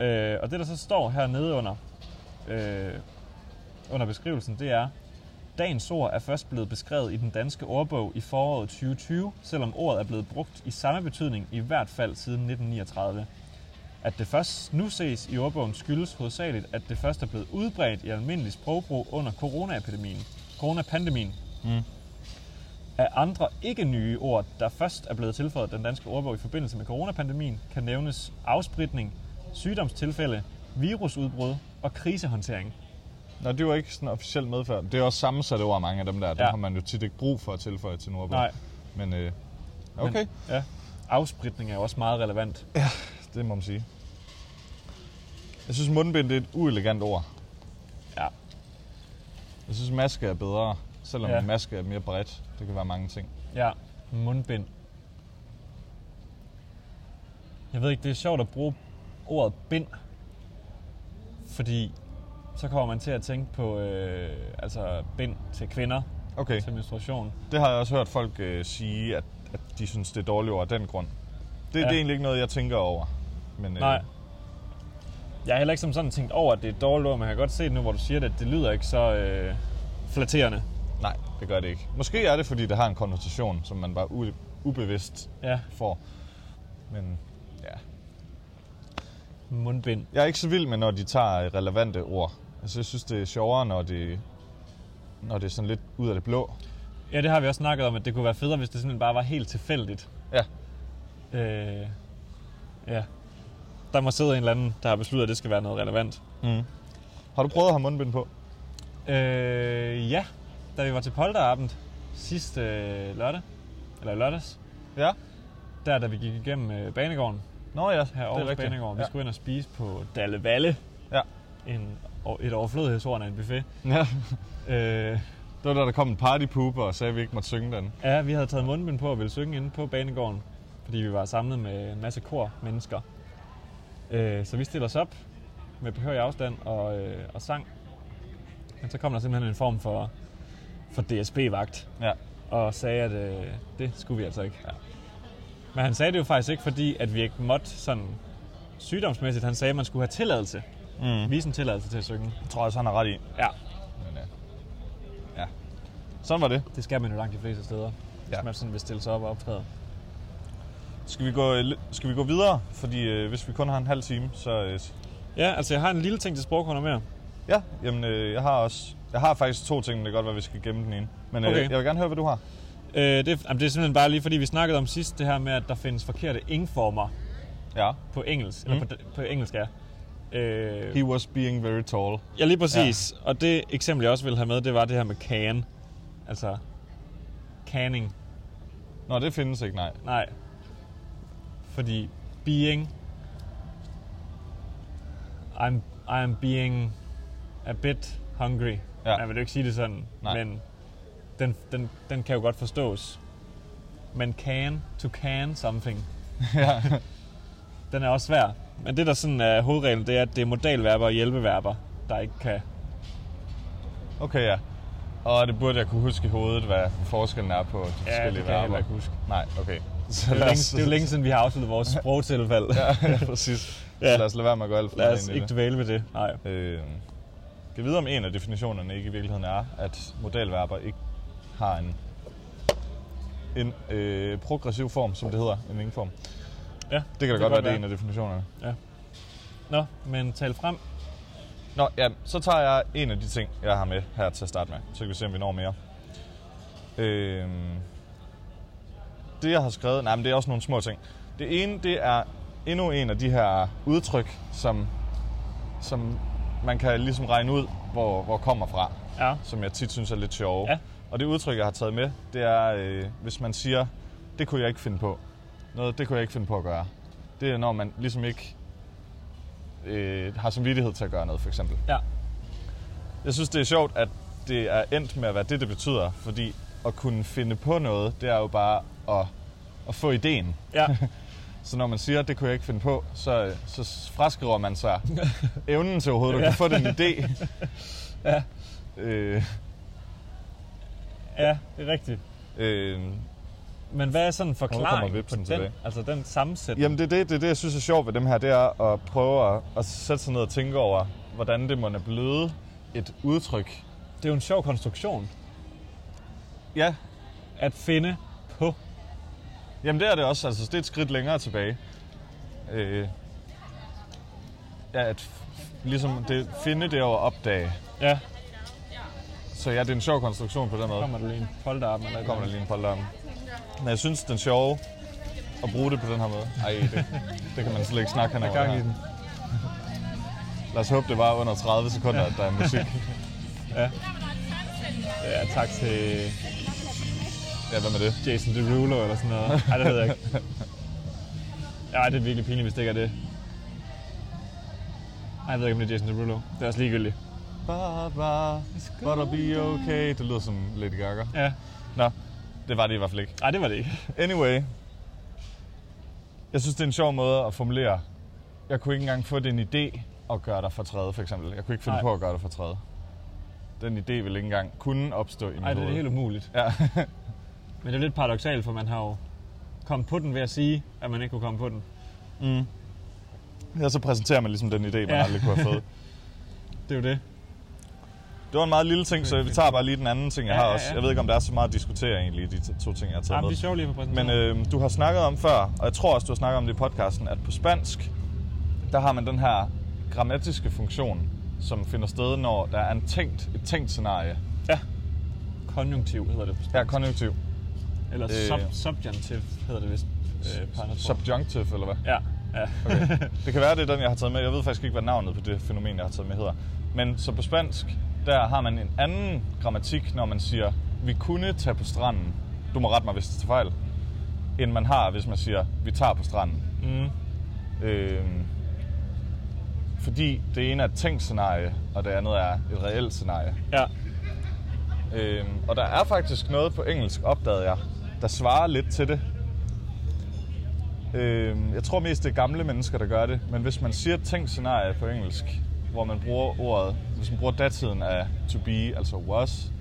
Øh, og det, der så står hernede under, øh, under beskrivelsen, det er, dagens ord er først blevet beskrevet i den danske ordbog i foråret 2020, selvom ordet er blevet brugt i samme betydning i hvert fald siden 1939. At det først nu ses i ordbogen skyldes hovedsageligt, at det først er blevet udbredt i almindelig sprogbrug under coronaepidemien, coronapandemien. Mm. Af andre ikke nye ord, der først er blevet tilføjet den danske ordbog i forbindelse med coronapandemien, kan nævnes afspritning, sygdomstilfælde, virusudbrud og krisehåndtering. Nå, det var ikke sådan officielt med før. Det er også sammensatte ord, mange af dem der. Ja. Dem Ja. har man jo tit ikke brug for at tilføje til en ordbog. Nej. Men øh, okay, Men, ja. Afspritning er jo også meget relevant. det må man sige. Jeg synes, mundbind det er et uelegant ord. Ja. Jeg synes, maske er bedre, selvom Ja. ja. maske er mere bredt. Det kan være mange ting. Ja, mundbind. Jeg ved ikke, det er sjovt at bruge ordet bind, fordi så kommer man til at tænke på øh, altså bind til kvinder, Okay, til menstruation. det har jeg også hørt folk øh, sige, at, at de synes, det er dårligt ord af den grund. Det, ja. Ja. det er egentlig ikke noget, jeg tænker over. Men, øh, Nej. Jeg har heller ikke som sådan tænkt over, at det er et dårligt ord, men jeg kan godt se det nu, hvor du siger det, at det lyder ikke så øh, flatterende. Nej, det gør det ikke. Måske er det, fordi det har en konnotation, som man bare u- ubevidst Ja, får. Men ja. mundbind. Jeg er ikke så vild med, når de tager øh, relevante ord. Altså, jeg synes, det er sjovere, når det, når det er sådan lidt ud af det blå. Ja, det har vi også snakket om, at det kunne være federe, hvis det simpelthen bare var helt tilfældigt. Ja. Øh, ja. Der må sidde en eller anden, der har besluttet, at det skal være noget relevant. Mm. Har du prøvet at have mundbind på? Øh, ja, da vi var til Polterabend sidste øh, lørdag, eller i lørdags, Ja. der da vi gik igennem øh, Banegården, Nå ja, her det er Aarhus rigtigt. Banegården, vi ja. skulle ind og spise på Dalle Valle, Ja. en, og- et overflødighedsord af en buffet. ja. Øh, Det var da, der kom en partypooper og sagde, at vi ikke måtte synge den. ja, vi havde taget mundbind på og ville synge inde på Banegården, fordi vi var samlet med en masse kor mennesker. Øh, så vi stillede os op med behørig afstand og, øh, og sang. Men så kom der simpelthen en form for, for DSB-vagt, Ja. og sagde, at øh, det skulle vi altså ikke. Ja. Men han sagde det jo faktisk ikke, fordi at vi ikke måtte sådan sygdomsmæssigt. Han sagde, at man skulle have tilladelse. Mm. Vise en tilladelse til at synge. Jeg tror også, han har ret i. Ja, Men, ja. ja. Sådan var det. det skal man jo langt de fleste steder, ja. Ja. hvis man sådan vil stille sig op og optræde. Skal vi gå, øh, li- skal vi gå videre? Fordi øh, hvis vi kun har en halv time, så... Øh, Ja, altså jeg har en lille ting til sprogkunder mere. ja, jamen, øh, jeg har også... Jeg har faktisk to ting, men det kan godt være, vi skal gemme den ene. Men øh, Okay. okay. jeg vil gerne høre, hvad du har. Øh, det, er- jamen, det er simpelthen bare lige, fordi vi snakkede om sidst det her med, at der findes forkerte ingformer Ja. på engelsk. Mm. Mm. Eller på, på engelsk, ja. Øh, He was being very tall. ja, lige præcis. Ja. Og det eksempel, jeg også ville have med, det var det her med can. Altså, canning. Nå, det findes ikke, nej. Nej. Fordi being... I'm, I'm being a bit hungry. Ja. Ja. Jeg vil jo ikke sige det sådan, Nej. men den, den, den kan jo godt forstås. Men can, to can something. ja. Den er også svær. Men det, der sådan er hovedreglen, det er, at det er modalverber og hjælpeverber, der ikke kan... Okay, ja. Og det burde jeg kunne huske i hovedet, hvad forskellen er på de forskellige det kan jeg verber. heller ikke huske. Nej, okay. Så Det er, jo længe, det er jo længe siden, vi har afsluttet vores sprogtilfælde. Ja. ja, ja, præcis. Ja. Så lad os lade være med at gå alt for Lad meget os ind i ikke dvæle ved det. Nej. det. Øh, kan vide, om en af definitionerne ikke i virkeligheden er, at modelverber ikke har en, en øh, progressiv form, som det hedder, en ingen-form. Det Ja, det kan da godt være, det er en af definitionerne. Nå, men tal frem. Nå, ja, så tager jeg en af de ting, jeg har med her til at starte med. Så kan vi se, om vi når mere. Øhm, det, jeg har skrevet... Nej, men det er også nogle små ting. Det ene, det er endnu en af de her udtryk, som, som man kan ligesom regne ud, hvor, hvor kommer fra. Ja. Som jeg tit synes er lidt sjove. Ja. Og det udtryk, jeg har taget med, det er, øh, hvis man siger, det kunne jeg ikke finde på. Noget, det kunne jeg ikke finde på at gøre. Det er, når man ligesom ikke øh, har samvittighed til at gøre noget, for eksempel. Ja. Jeg synes, det er sjovt, at det er endt med at være det, det betyder, fordi at kunne finde på noget, det er jo bare at, at få ideen. Ja. Så når man siger, det kunne jeg ikke finde på, så, øh, så fraskriver man sig evnen til overhovedet at kunne få den idé. ja. Øh, ja, det er rigtigt. øh, Men hvad er sådan forklaringen på vipsen den, tilbage. altså den sammensætning? jamen, det er det, det, er det, jeg synes er sjovt ved dem her, det er at prøve at, at sætte sig ned og tænke over, hvordan det må er blevet et udtryk. Det er jo en sjov konstruktion Ja, at finde på. Jamen det er det også, altså det er et skridt længere tilbage. Øh, ja, at f- ligesom det, finde det og opdage. Ja, Så ja, det er en sjov konstruktion på den måde. kommer der lige en polterappen eller Der kommer der lige en polterarm. Men jeg synes, den er sjove at bruge det på den her måde. Ej, det, det kan man slet ikke snakke henover. gang i det den. her. Lad os håbe, det var under 30 sekunder, at der er musik. Ja, tak til Ja, hvad med det? Jason Derulo eller sådan noget. Nej, det ved jeg ikke. Ja, det er virkelig pinligt, hvis det ikke er det. Ej, jeg ved ikke, om det er Jason Derulo. Det er også ligegyldigt. Ba, ba, but I'll be okay. Det lyder som Lady Gaga. Ja. Nå, det var det i hvert fald ikke. Nej, det var det ikke. Anyway. Jeg synes, det er en sjov måde at formulere. Jeg kunne ikke engang få den idé at gøre dig fortræde, for eksempel. Jeg kunne ikke finde Nej. på at gøre dig fortræde. Den idé ville ikke engang kunne opstå i mit Nej, det er hoved. helt umuligt. Ja. Men det er lidt paradoxalt, for man har jo kommet på den ved at sige, at man ikke kunne komme på den. ja, så præsenterer man ligesom den idé, man Ja. aldrig kunne have fået. Det er jo det. Det var en meget lille ting, så vi tager bare lige den anden ting, jeg Ja, har ja, også. ja. Jeg ved ikke, om der er så meget at diskutere egentlig, i de to ting, jeg har taget Jamen, Ah, det med. er sjovt lige at få præsenteret. Men øh, du har snakket om før, og jeg tror også, du har snakket om det i podcasten, at på spansk, der har man den her grammatiske funktion, som finder sted, når der er en tænkt, et tænkt scenarie. Ja. Konjunktiv hedder det. Ja, konjunktiv. Eller Øh. sub, subjunctive hedder det vist. Øh, på andre sprog. Subjunctive, eller hvad? Ja, ja. Det kan være, det er den, jeg har taget med. Jeg ved faktisk ikke, hvad navnet på det fænomen, jeg har taget med hedder. Men så på spansk, der har man en anden grammatik, når man siger, vi kunne tage på stranden. Du må rette mig, hvis det er fejl. End man har, hvis man siger, vi tager på stranden. Mm. Øh, fordi det ene er et tænkt scenarie, og det andet er et reelt scenarie. ja. Øh, og der er faktisk noget på engelsk, opdagede jeg, der svarer lidt til det. Øh, jeg tror mest, det er gamle mennesker, der gør det. Men hvis man siger tænkt scenarie på engelsk, hvor man bruger ordet, hvis man bruger datiden af to be, altså was,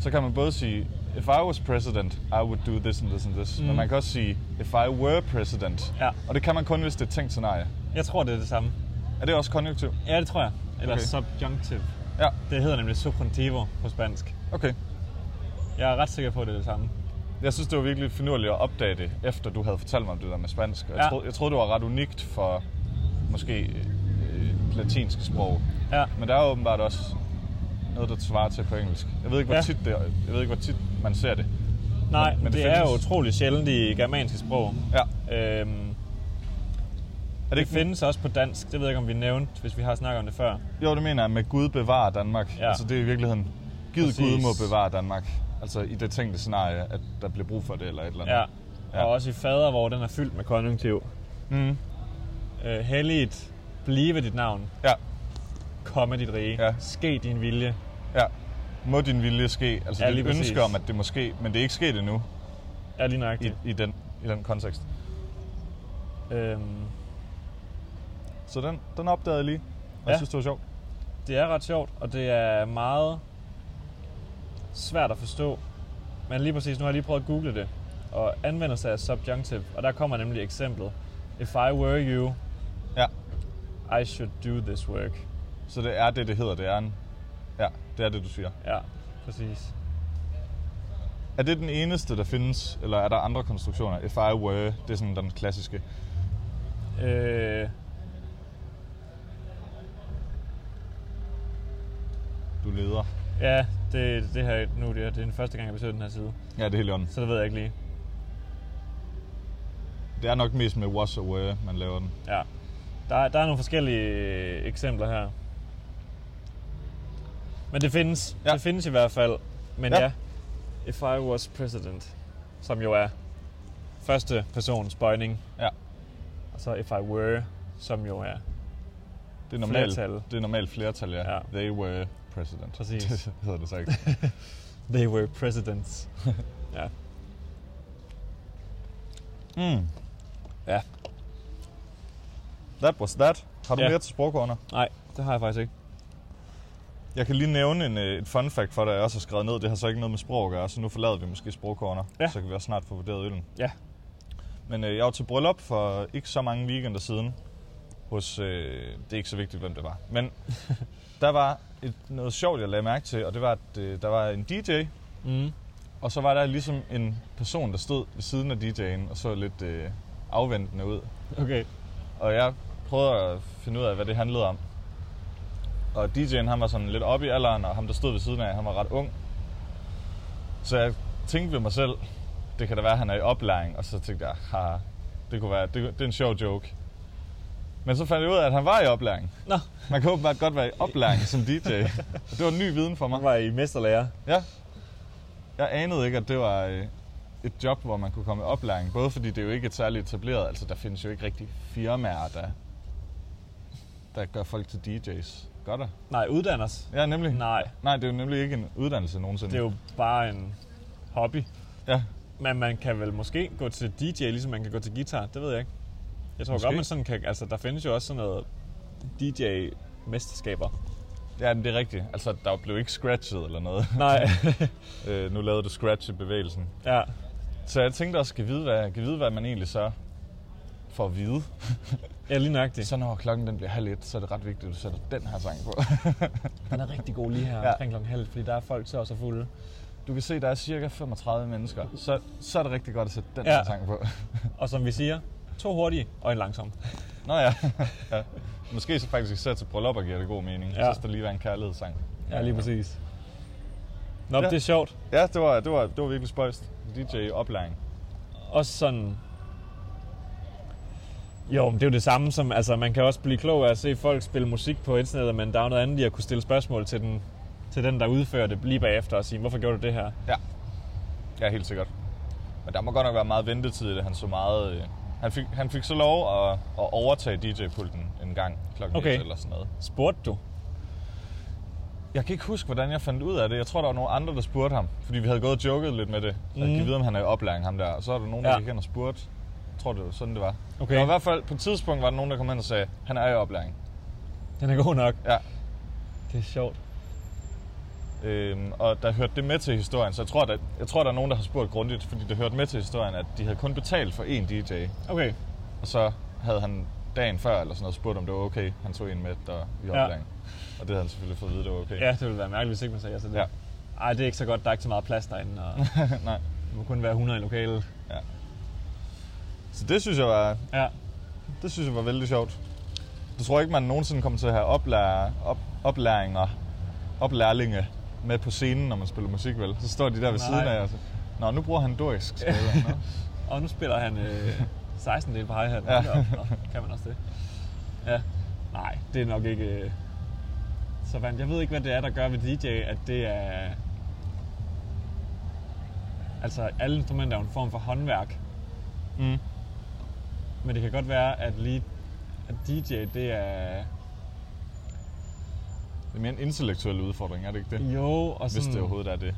så kan man både sige, if I was president, I would do this and this and this. Mm. Men man kan også sige, if I were president. Ja. Og det kan man kun, hvis det er et tænkt scenarie. Jeg tror, det er det samme. Er det også konjunktiv? Ja, det tror jeg. Eller Okay. okay. subjunctive. Ja, Det hedder nemlig subjuntivo på spansk. okay. Jeg er ret sikker på, at det er det samme. Jeg synes, det var virkelig finurligt at opdage det, efter du havde fortalt mig om det der med spansk. Og Jeg, Ja. troede, jeg troede, det var ret unikt for måske øh, latinske sprog. Ja. Men der er åbenbart også noget, der svarer til på engelsk. Jeg ved ikke, hvor, Ja. tit, det, jeg ved ikke, hvor tit man ser det. Nej, Men- men, men men det det, det er jo findes. utrolig sjældent i germanske sprog. Ja. Øhm, Er det, det ikke findes også på dansk. Det ved jeg ikke, om vi nævnte, hvis vi har snakket om det før. Jo, det mener jeg med Gud bevarer Danmark. Ja. Ja. Altså det er i virkeligheden, Gid Præcis. Gud må bevare Danmark. Altså i det tænkte scenarie, at der bliver brug for det eller et eller andet. Ja. Ja. ja. Og også i fader, hvor den er fyldt med konjunktiv. Mm. Øh, helligt, blive dit navn, Ja, komme dit rige, Ja. ja. ske din vilje. ja. Må din vilje ske. Altså Ja, det er lige et præcis. ønske om, at det må ske, men det er ikke sket endnu Ja, lige i, nøjagtigt. i, den, i den kontekst. Øhm, Så den, den opdagede jeg lige, og Ja. ja. jeg synes, det var sjovt. Det er ret sjovt, og det er meget svært at forstå. Men lige præcis, nu har jeg lige prøvet at google det, og anvender sig af subjunctive, og der kommer nemlig eksemplet. If I were you, Ja, I should do this work. så det er det, det hedder. Det er en... Ja, det er det, du siger. Ja, præcis. Er det den eneste, der findes, eller er der andre konstruktioner? If I were, det er sådan den klassiske. Øh, Du leder. ja, det, det her nu, det er, det er den første gang, jeg besøger den her side, Ja, det er helt i orden. så det ved jeg ikke lige. Det er nok mest med was og were, man laver den. Ja. Der, er- der er nogle forskellige øh, eksempler her. Men det findes. Ja. Ja. Det findes i hvert fald. Men Ja. ja. ja. If I was president, som jo er første persons bøjning. Ja. Og så if I were, som jo er. Det er normalt Flertal. Det er normalt flertal, ja. Ja. ja. They were president. Præcis. Det hedder det så ikke. They were presidents. ja. Mm. Ja. That was that. Har du Ja. mere til sprogkorner? Nej, det har jeg faktisk ikke. Jeg kan lige nævne en, øh, et fun fact for dig, jeg også har skrevet ned. Det har så ikke noget med sprog at gøre, så nu forlader vi måske sprogkorner. Ja. Så kan vi også snart få vurderet øllen. Ja. Men øh, jeg var til bryllup for ikke så mange weekender siden. Hos, øh, det er ikke så vigtigt, hvem det var. Men der var et, noget sjovt, jeg lagde mærke til, og det var, at øh, der var en DJ, Mm. og så var der ligesom en person, der stod ved siden af DJ'en og så lidt øh, afventende ud. Okay. Og jeg prøvede at finde ud af, hvad det handlede om. Og DJ'en, han var sådan lidt oppe i alderen, og ham, der stod ved siden af, han var ret ung. Så jeg tænkte ved mig selv, det kan da være, at han er i oplæring. Og så tænkte jeg, ha, det kunne være, det, det er en sjov joke. Men så fandt jeg ud af, at han var i oplæring. Nå, Man kan åbenbart godt være i oplæring som DJ. Det var en ny viden for mig. nu var I mesterlærer. Ja. Jeg anede ikke, at det var øh, et job, hvor man kunne komme i oplæring. Både fordi det er jo ikke er særligt etableret. Altså, der findes jo ikke rigtig firmaer, der, der gør folk til DJ's. Gør der? Nej, uddanners. Ja, nemlig. Nej, Nej, det er jo nemlig ikke en uddannelse nogensinde. det er jo bare en hobby. Ja, Men man kan vel måske gå til DJ, ligesom man kan gå til guitar. Det ved jeg ikke. Jeg tror Måske. måske. godt, man sådan kan... Altså, der findes jo også sådan noget DJ-mesterskaber. ja men det er rigtigt. Altså, der blev ikke scratchet eller noget. Nej. øh, nu lavede du scratch i bevægelsen. ja. Så jeg tænkte også, kan vide, hvad, kan vide, hvad man egentlig så får at vide. ja, lige nøjagtigt. Så når klokken den bliver halv et, så er det ret vigtigt, at du sætter den her sang på. Den er rigtig god lige her Ja. klokken halv, fordi der er folk så også fulde. Du kan se, der er cirka 35 mennesker. Så, så er det rigtig godt at sætte den ja. Ja. her sang på. Og som vi siger, to hurtige og en langsom. Nå ja. ja. Måske så faktisk især til bryllupper giver det god mening. Ja. Ja. Så skal der lige være en kærlighedssang. Ja, lige præcis. Nå, Ja. ja. det er sjovt. Ja, det var, det var, det var virkelig spøjst. DJ oplæring. Også sådan... Jo, men det er jo det samme som, altså man kan også blive klog af at se folk spille musik på internettet, men der er jo noget andet i at kunne stille spørgsmål til den, til den der udfører det lige bagefter og sige, hvorfor gjorde du det her? Ja. Ja, helt sikkert. Men der må godt nok være meget ventetid i det. Han så meget... Øh, han fik, han fik så lov at, at overtage DJ-pulten en gang klokken okay. Okay. eller sådan noget. Spurgte du? Jeg kan ikke huske, hvordan jeg fandt ud af det. Jeg tror, der var nogle andre, der spurgte ham. Fordi vi havde gået og joket lidt med det. Mm. At give videre, om han er i oplæring, ham der. Og så er der nogen, der Mhm. Ja. gik hen og spurgte. Jeg tror, det var sådan, det var. Okay. Der var i hvert fald, på et tidspunkt var der nogen, der kom hen og sagde, han er i oplæring. Den er god nok. Ja. Det er sjovt. Øhm, og der hørte det med til historien, så jeg tror, der, jeg tror, der er nogen, der har spurgt grundigt, fordi det hørte med til historien, at de havde kun betalt for én DJ. Okay. Og så havde han dagen før eller sådan noget spurgt, om det var okay, han tog en med, der i Ja. oplæring. Og det havde han selvfølgelig fået at vide, det var okay. Ja, det ville være mærkeligt, hvis ikke man sagde ja til det. Ja. Ej, det er ikke så godt. Der er ikke så meget plads derinde, og Nej. der må kun være 100 i lokalet. Så det synes jeg var, Ja. Det synes jeg var vældig sjovt. Du tror ikke, man nogensinde kommer til at have oplærer, op, oplæringer, oplærlinge med på scenen, når man spiller musik, vel? Så står de der ved Nej. siden af og så, Nå, nu bruger han dorisk skala. Nå. Og nu spiller han øh, 16 del på hi-hat. Ja. Ja. Kan man også det? Ja. Nej, det er nok ikke øh, så vandt. Jeg ved ikke, hvad det er, der gør ved DJ, at det er... Altså, alle instrumenter er jo en form for håndværk. Mm. Men det kan godt være, at, lige, at DJ, det er... Det er mere en intellektuel udfordring, er det ikke det? Jo, og sådan... Hvis Mm. det overhovedet er det.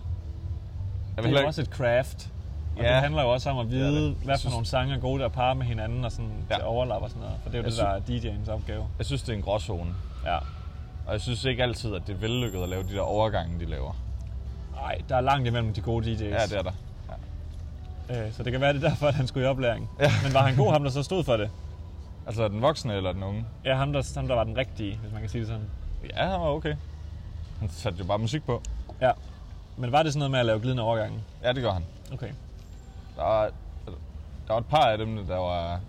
Jeg vil Det er heller jo ikke, også et craft. Og Ja. det handler jo også om at Det er vide, det. ja, hvad Jeg for synes- nogle sange er gode, der parer med hinanden og sådan Ja. ja. overlapper og sådan noget. For det er jo Jeg det, der er DJ'ens opgave. Jeg synes, det er en gråzone. Ja. Og jeg synes ikke altid, at det er vellykket at lave de der overgange, de laver. Ej, der er langt imellem de gode DJ's. Ja, det er der. Øh, så det kan være, det er derfor, at han skulle i oplæring. Ja. Men var han god, ham der så stod for det? Altså den voksne eller den unge? Ja, ham der, ham der var den rigtige, hvis man kan sige det sådan. Ja, han var okay. Han satte jo bare musik på. Ja. Men var det sådan noget med at lave glidende overgange? Ja, det gør han. Okay. Der var, der var et par af dem, der var...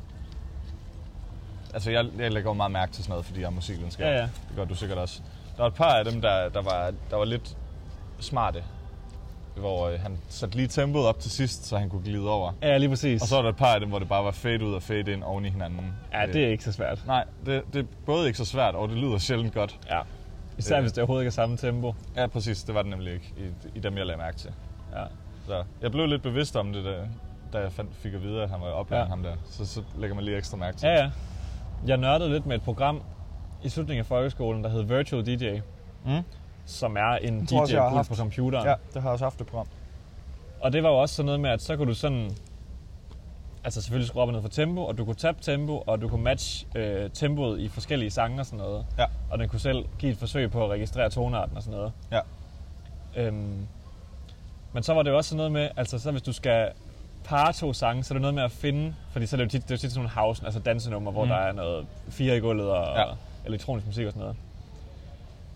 Altså, jeg, jeg lægger jo meget mærke til sådan noget, fordi jeg er musikvidenskab. Ja, ja. Det gør du sikkert også. Der var et par af dem, der, der, var, der var lidt smarte. Hvor øh, han satte lige tempoet op til sidst, så han kunne glide over. Ja, lige præcis. Og så var der et par af dem, hvor det bare var fade ud og fade ind oven i hinanden. Øh, Ja, det er ikke så svært. Nej, det, det er både ikke så svært, og det lyder sjældent godt. Ja. Især Øh. hvis det overhovedet ikke er samme tempo. Ja, præcis. Det var det nemlig ikke i, i dem, jeg lagde mærke til. Ja. Så jeg blev lidt bevidst om det, da, da jeg fandt, fik at vide, at han var oplært ja. Ja. ham der. Så, så lægger man lige ekstra mærke til Ja, det. ja. Jeg nørdede lidt med et program i slutningen af folkeskolen, der hed Virtual DJ. Mm. Som er en tror også, jeg har DJ-pult haft. på computeren. Ja, det har jeg også haft et program. Og det var jo også sådan noget med, at så kunne du sådan... Altså selvfølgelig skrue op og ned for tempo, og du kunne tabe tempo, og du kunne matche øh, tempoet i forskellige sange og sådan noget. Ja. Og den kunne selv give et forsøg på at registrere tonarten og sådan noget. Ja. Øhm, men så var det jo også sådan noget med, altså så hvis du skal parre to sange, så er det noget med at finde, fordi så er det jo tit, det er jo tit sådan nogle house, altså dansenummer, hvor Mm. der er noget fire i gulvet og Ja. ja. elektronisk musik og sådan noget.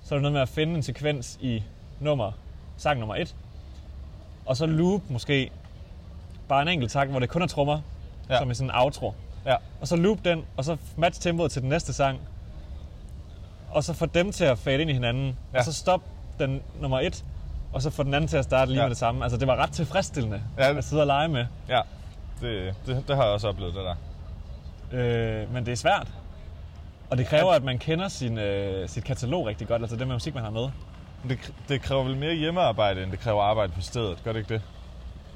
Så er det noget med at finde en sekvens i nummer, sang nummer et, og så loop måske bare en enkelt tak, hvor det kun er trommer, Ja. ja. som er sådan en outro. Ja. Og så loop den, og så match tempoet til den næste sang. Og så få dem til at fade ind i hinanden. Ja. Ja. Og så stop den nummer et, og så få den anden til at starte lige Ja. ja. med det samme. Altså, det var ret tilfredsstillende Ja, det- at sidde og lege med. Ja, det, det, det har jeg også oplevet, det der. Øh, men det er svært. Og det kræver, at man kender sin, øh, sit katalog rigtig godt, altså den musik, man har med. Men Det, det kræver vel mere hjemmearbejde, end det kræver arbejde på stedet. Gør det ikke det?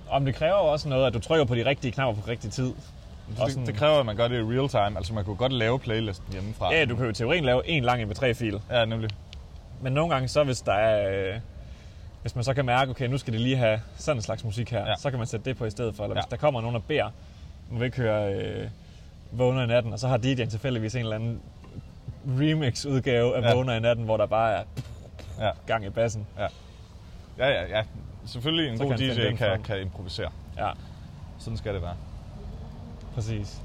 Og men det kræver jo også noget, at du trykker på de rigtige knapper på rigtig tid. Og Det, det kræver, at man gør det i real time. Altså, man kunne godt lave playlisten hjemmefra. Ja, du kan jo i teorien lave en lang MP3-fil. Ja, nemlig. Men nogle gange så, hvis der er... Øh, hvis man så kan mærke, okay, nu skal det lige have sådan en slags musik her, Ja. ja. så kan man sætte det på i stedet for. Eller Ja. hvis der kommer nogen og beder, må vi ikke høre øh, Vågner i natten, og så har DJ'en tilfældigvis en eller anden remix-udgave af Ja. ja. Vågner i natten, hvor der bare er Ja. gang i bassen. Ja, ja, ja. Selvfølgelig en Så så god kan han finde DJ den kan, frem. kan improvisere. Ja, Sådan skal det være. præcis.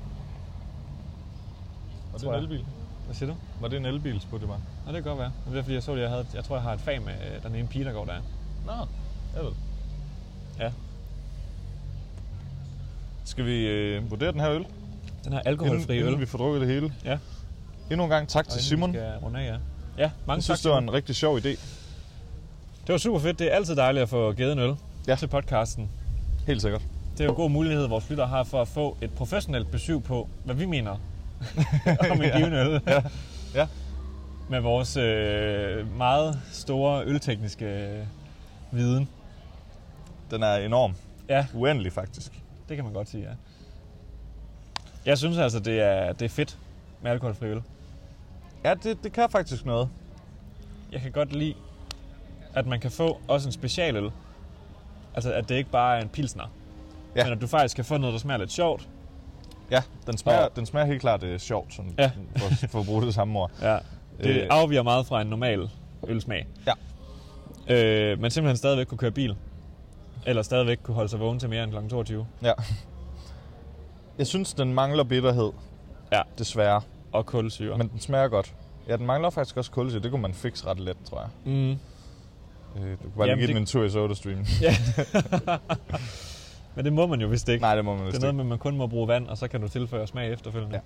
Var det Tror en jeg. elbil? Hvad siger du? Var det en elbil, spurgte jeg mig. Nå, det kan godt være. Men det er fordi, jeg så det, jeg havde... Jeg tror, jeg har et fag med øh, den ene pige, der går der. Nå, jeg ved. Ja. Skal vi øh, vurdere den her øl? Den her alkoholfri inden øl. vi får drukket det hele. Ja. Endnu en gang tak Og til inden Simon. vi Jeg Skal runde af, ja. ja, mange tak. synes, det var en rigtig sjov idé. Det var super fedt. Det er altid dejligt at få givet en øl Ja. ja. til podcasten. Helt sikkert. Det er jo en god mulighed, vores lytter har for at få et professionelt besøg på, hvad vi mener om en Ja. given øl. Ja. Ja. Med vores øh, meget store øltekniske øh, viden. Den er enorm. Ja, Uendelig, faktisk. det kan man godt sige, ja. Jeg synes altså, det er, det er fedt med alkoholfri øl. Ja, det, det kan faktisk noget. Jeg kan godt lide, at man kan få også en specialøl. Altså, at det ikke bare er en pilsner. Ja. Ja. Men at du faktisk kan få noget, der smager lidt sjovt. Ja, den smager, Og- den smager helt klart øh, sjovt, sådan, ja. Ja. for, for at bruge det samme ord. Ja, det Øh. øh. afviger meget fra en normal ølsmag. Ja. Øh, men simpelthen stadigvæk kunne køre bil. Eller stadigvæk kunne holde sig vågen til mere end kl. 22. Ja. Jeg synes, den mangler bitterhed. Ja. Desværre. Og kulsyre. Men den smager godt. Ja, den mangler faktisk også kulsyre. Det kunne man fikse ret let, tror jeg. mm. Øh, Du kunne Jamen, bare lige give det- den en tur i SodaStream. men det må man jo vist ikke. Nej, det må man det vist er noget ikke. med, at man kun må bruge vand, og så kan du tilføre smag efterfølgende. Ja.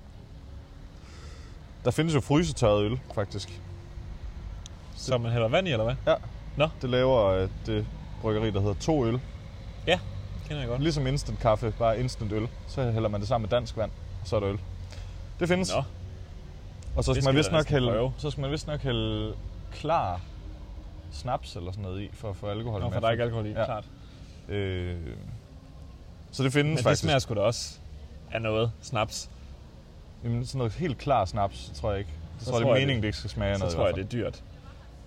Der findes jo frysetørret øl, faktisk. Så man hælder vand i, eller hvad? Det laver øh, det bryggeri, der hedder To Øl. Kender jeg godt. Ligesom instant kaffe, bare instant øl. Så hælder man det sammen med dansk vand, og så er det øl. Det findes. Nå, og så det skal, skal man jeg vist da nok næsten hælde, prøve. så skal man vist nok hælde klar snaps eller sådan noget i, for at få alkohol Nå med. for der er ikke alkohol i, Ja. ja. klart. Øh, så det findes Men det faktisk. smager sgu da også af noget. Snaps. Jamen, sådan noget helt klar snaps, så tror jeg ikke. Så Så tror jeg, det tror er jeg meningen, det. det ikke skal smage af Så noget. i tror jeg, hvert det er dyrt.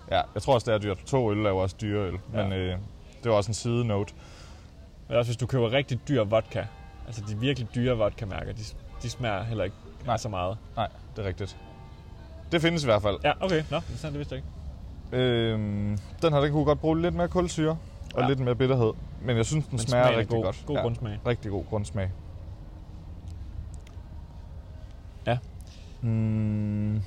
fald. Ja, jeg tror også, det er dyrt. To øl er jo også dyre øl, ja. Ja. men øh, det var også en side note. Men også hvis du køber rigtig dyr vodka, altså de virkelig dyre vodka-mærker, de, de smager heller ikke Nej. Nej. så meget. Nej, det er rigtigt. Det findes i hvert fald. Ja, okay. Nå, interessant, det vidste jeg ikke. Øhm, den her, den kunne godt bruge lidt mere kulsyre og ja. Ja. lidt mere bitterhed. Men jeg synes, den Men smager, smagen er rigtig god. godt. God grundsmag. Rigtig god grundsmag. Ja. Mm,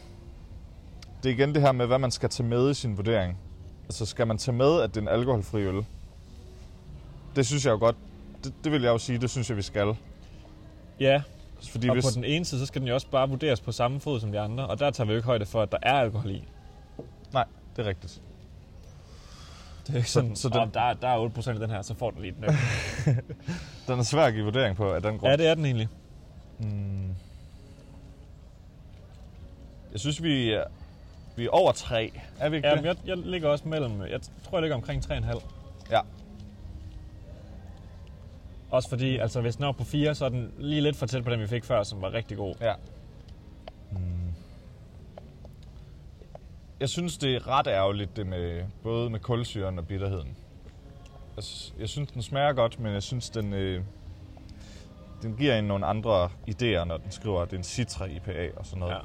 det er igen det her med, hvad man skal tage med i sin vurdering. Altså, skal man tage med, at det er en alkoholfri øl? Det synes jeg jo godt. Det, det vil jeg jo sige, det synes jeg, vi skal. Ja, Fordi og hvis, på den ene side, så skal den jo også bare vurderes på samme fod som de andre, og der tager vi jo ikke højde for, at der er alkohol i. Nej, det er rigtigt. Det er jo ikke sådan, så så, den- så oh, der, er- der er 8% af den her, så får du lige den. der." Den er svær at give vurdering på af den grund. ja, det er den egentlig. Mm. Jeg synes, vi er, vi er over tre. Er vi ikke Ja, det? men jeg, jeg ligger også mellem, jeg tror, jeg ligger omkring 3,5. Ja. Også fordi, altså hvis den er oppe på 4, så er den lige lidt for tæt på den, vi fik før, som var rigtig god. ja. Mm. Jeg synes, det er ret ærgerligt, det med, både med kulsyren og bitterheden. Jeg, s- jeg synes, den smager godt, men jeg synes, den, øh, den giver en nogle andre idéer, når den skriver, at det er en Citra IPA og sådan noget. Ja. Ja.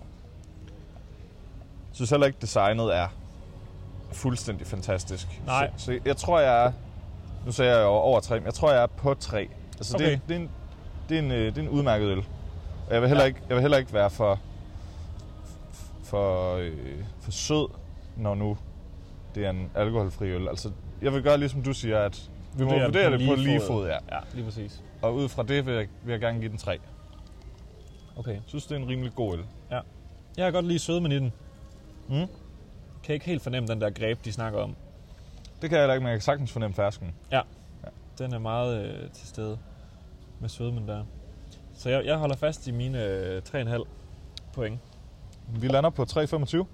Jeg synes heller ikke, designet er fuldstændig fantastisk. Nej. Så, så jeg tror, jeg er... Nu sagde jeg jo over tre, men jeg tror, jeg er på tre. Altså, okay. det, er- Okay. det, er en, det, er en, øh, det er en udmærket øl. Og jeg vil heller, ja. ikke, jeg vil heller ikke være for, for, øh, for sød, når nu det er en alkoholfri øl. Altså, jeg vil gøre ligesom du siger, at vi må Vurdere den vurdere på det på lige lige fod. fod, ja. Ja, lige præcis. Og ud fra det vil jeg, vil jeg gerne give den 3. Jeg Okay. synes, det er en rimelig god øl. Jeg kan godt lide sødmen i den. Mm. Kan ikke helt fornemme den der greb, de snakker om. Det kan jeg heller ikke, men jeg kan sagtens fornemme fersken. Den er meget øh, til stede med sødmen der. Så jeg, jeg holder fast i mine øh, 3,5 point Vi lander på 3,25.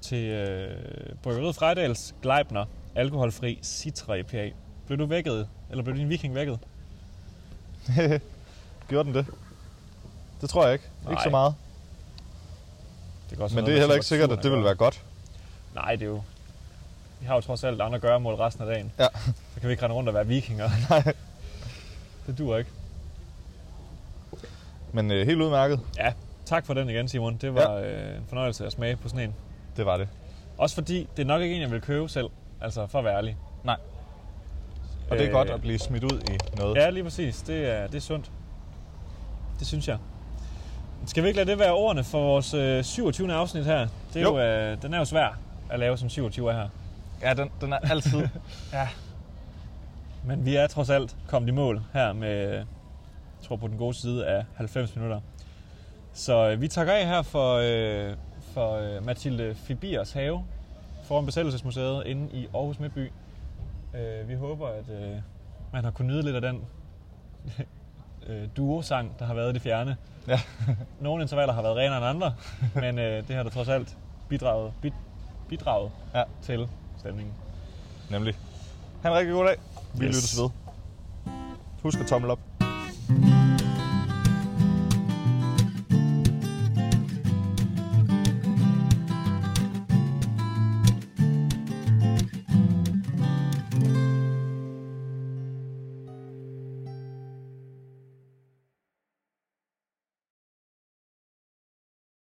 til øh, Bryggeriet Frejdals Gleibner alkoholfri Citra IPA. Blev du vækket? Eller blev din viking vækket? Gjorde den det? Det tror jeg ikke. Nej. Ikke Nej. så meget. Det kan også være Men det noget er med heller ikke sikkert, at det temperaturen vil være godt. gøre. Nej, det er jo... Vi har jo trods alt andre gøremål resten af dagen. Ja. Så kan vi ikke rende rundt og være vikinger. Nej. Det duer ikke. Men øh, helt udmærket, Ja, tak for den igen, Simon. Det var ja. øh, en fornøjelse at smage på sådan en. det var det. Også fordi, det er nok ikke en, jeg vil købe selv. Altså, for at være ærlig. Nej. Og det er Øh, godt at blive smidt ud i noget. Ja, lige præcis. Det er, det er sundt. Det synes jeg. Skal vi ikke lade det være ordene for vores øh, 27. afsnit her? Det er Jo. jo. øh, den er jo svær at lave som 27 er her. ja den, den er altid... ja. Men vi er trods alt kommet i mål her med, jeg tror på den gode side af 90 minutter. Så øh, vi takker af her for, øh, for øh, Mathilde Fibiers have foran Besættelsesmuseet inde i Aarhus Midtby. Øh, vi håber, at øh, man har kunnet nyde lidt af den øh, duosang, der har været i det fjerne. Ja. Nogle intervaller har været renere end andre, men øh, det har da trods alt bidraget, bid, bidraget Ja. ja. til stemningen. Nemlig. Ha' en rigtig god dag. Vi yes. Yes. lyttes ved. Husk at tommel op.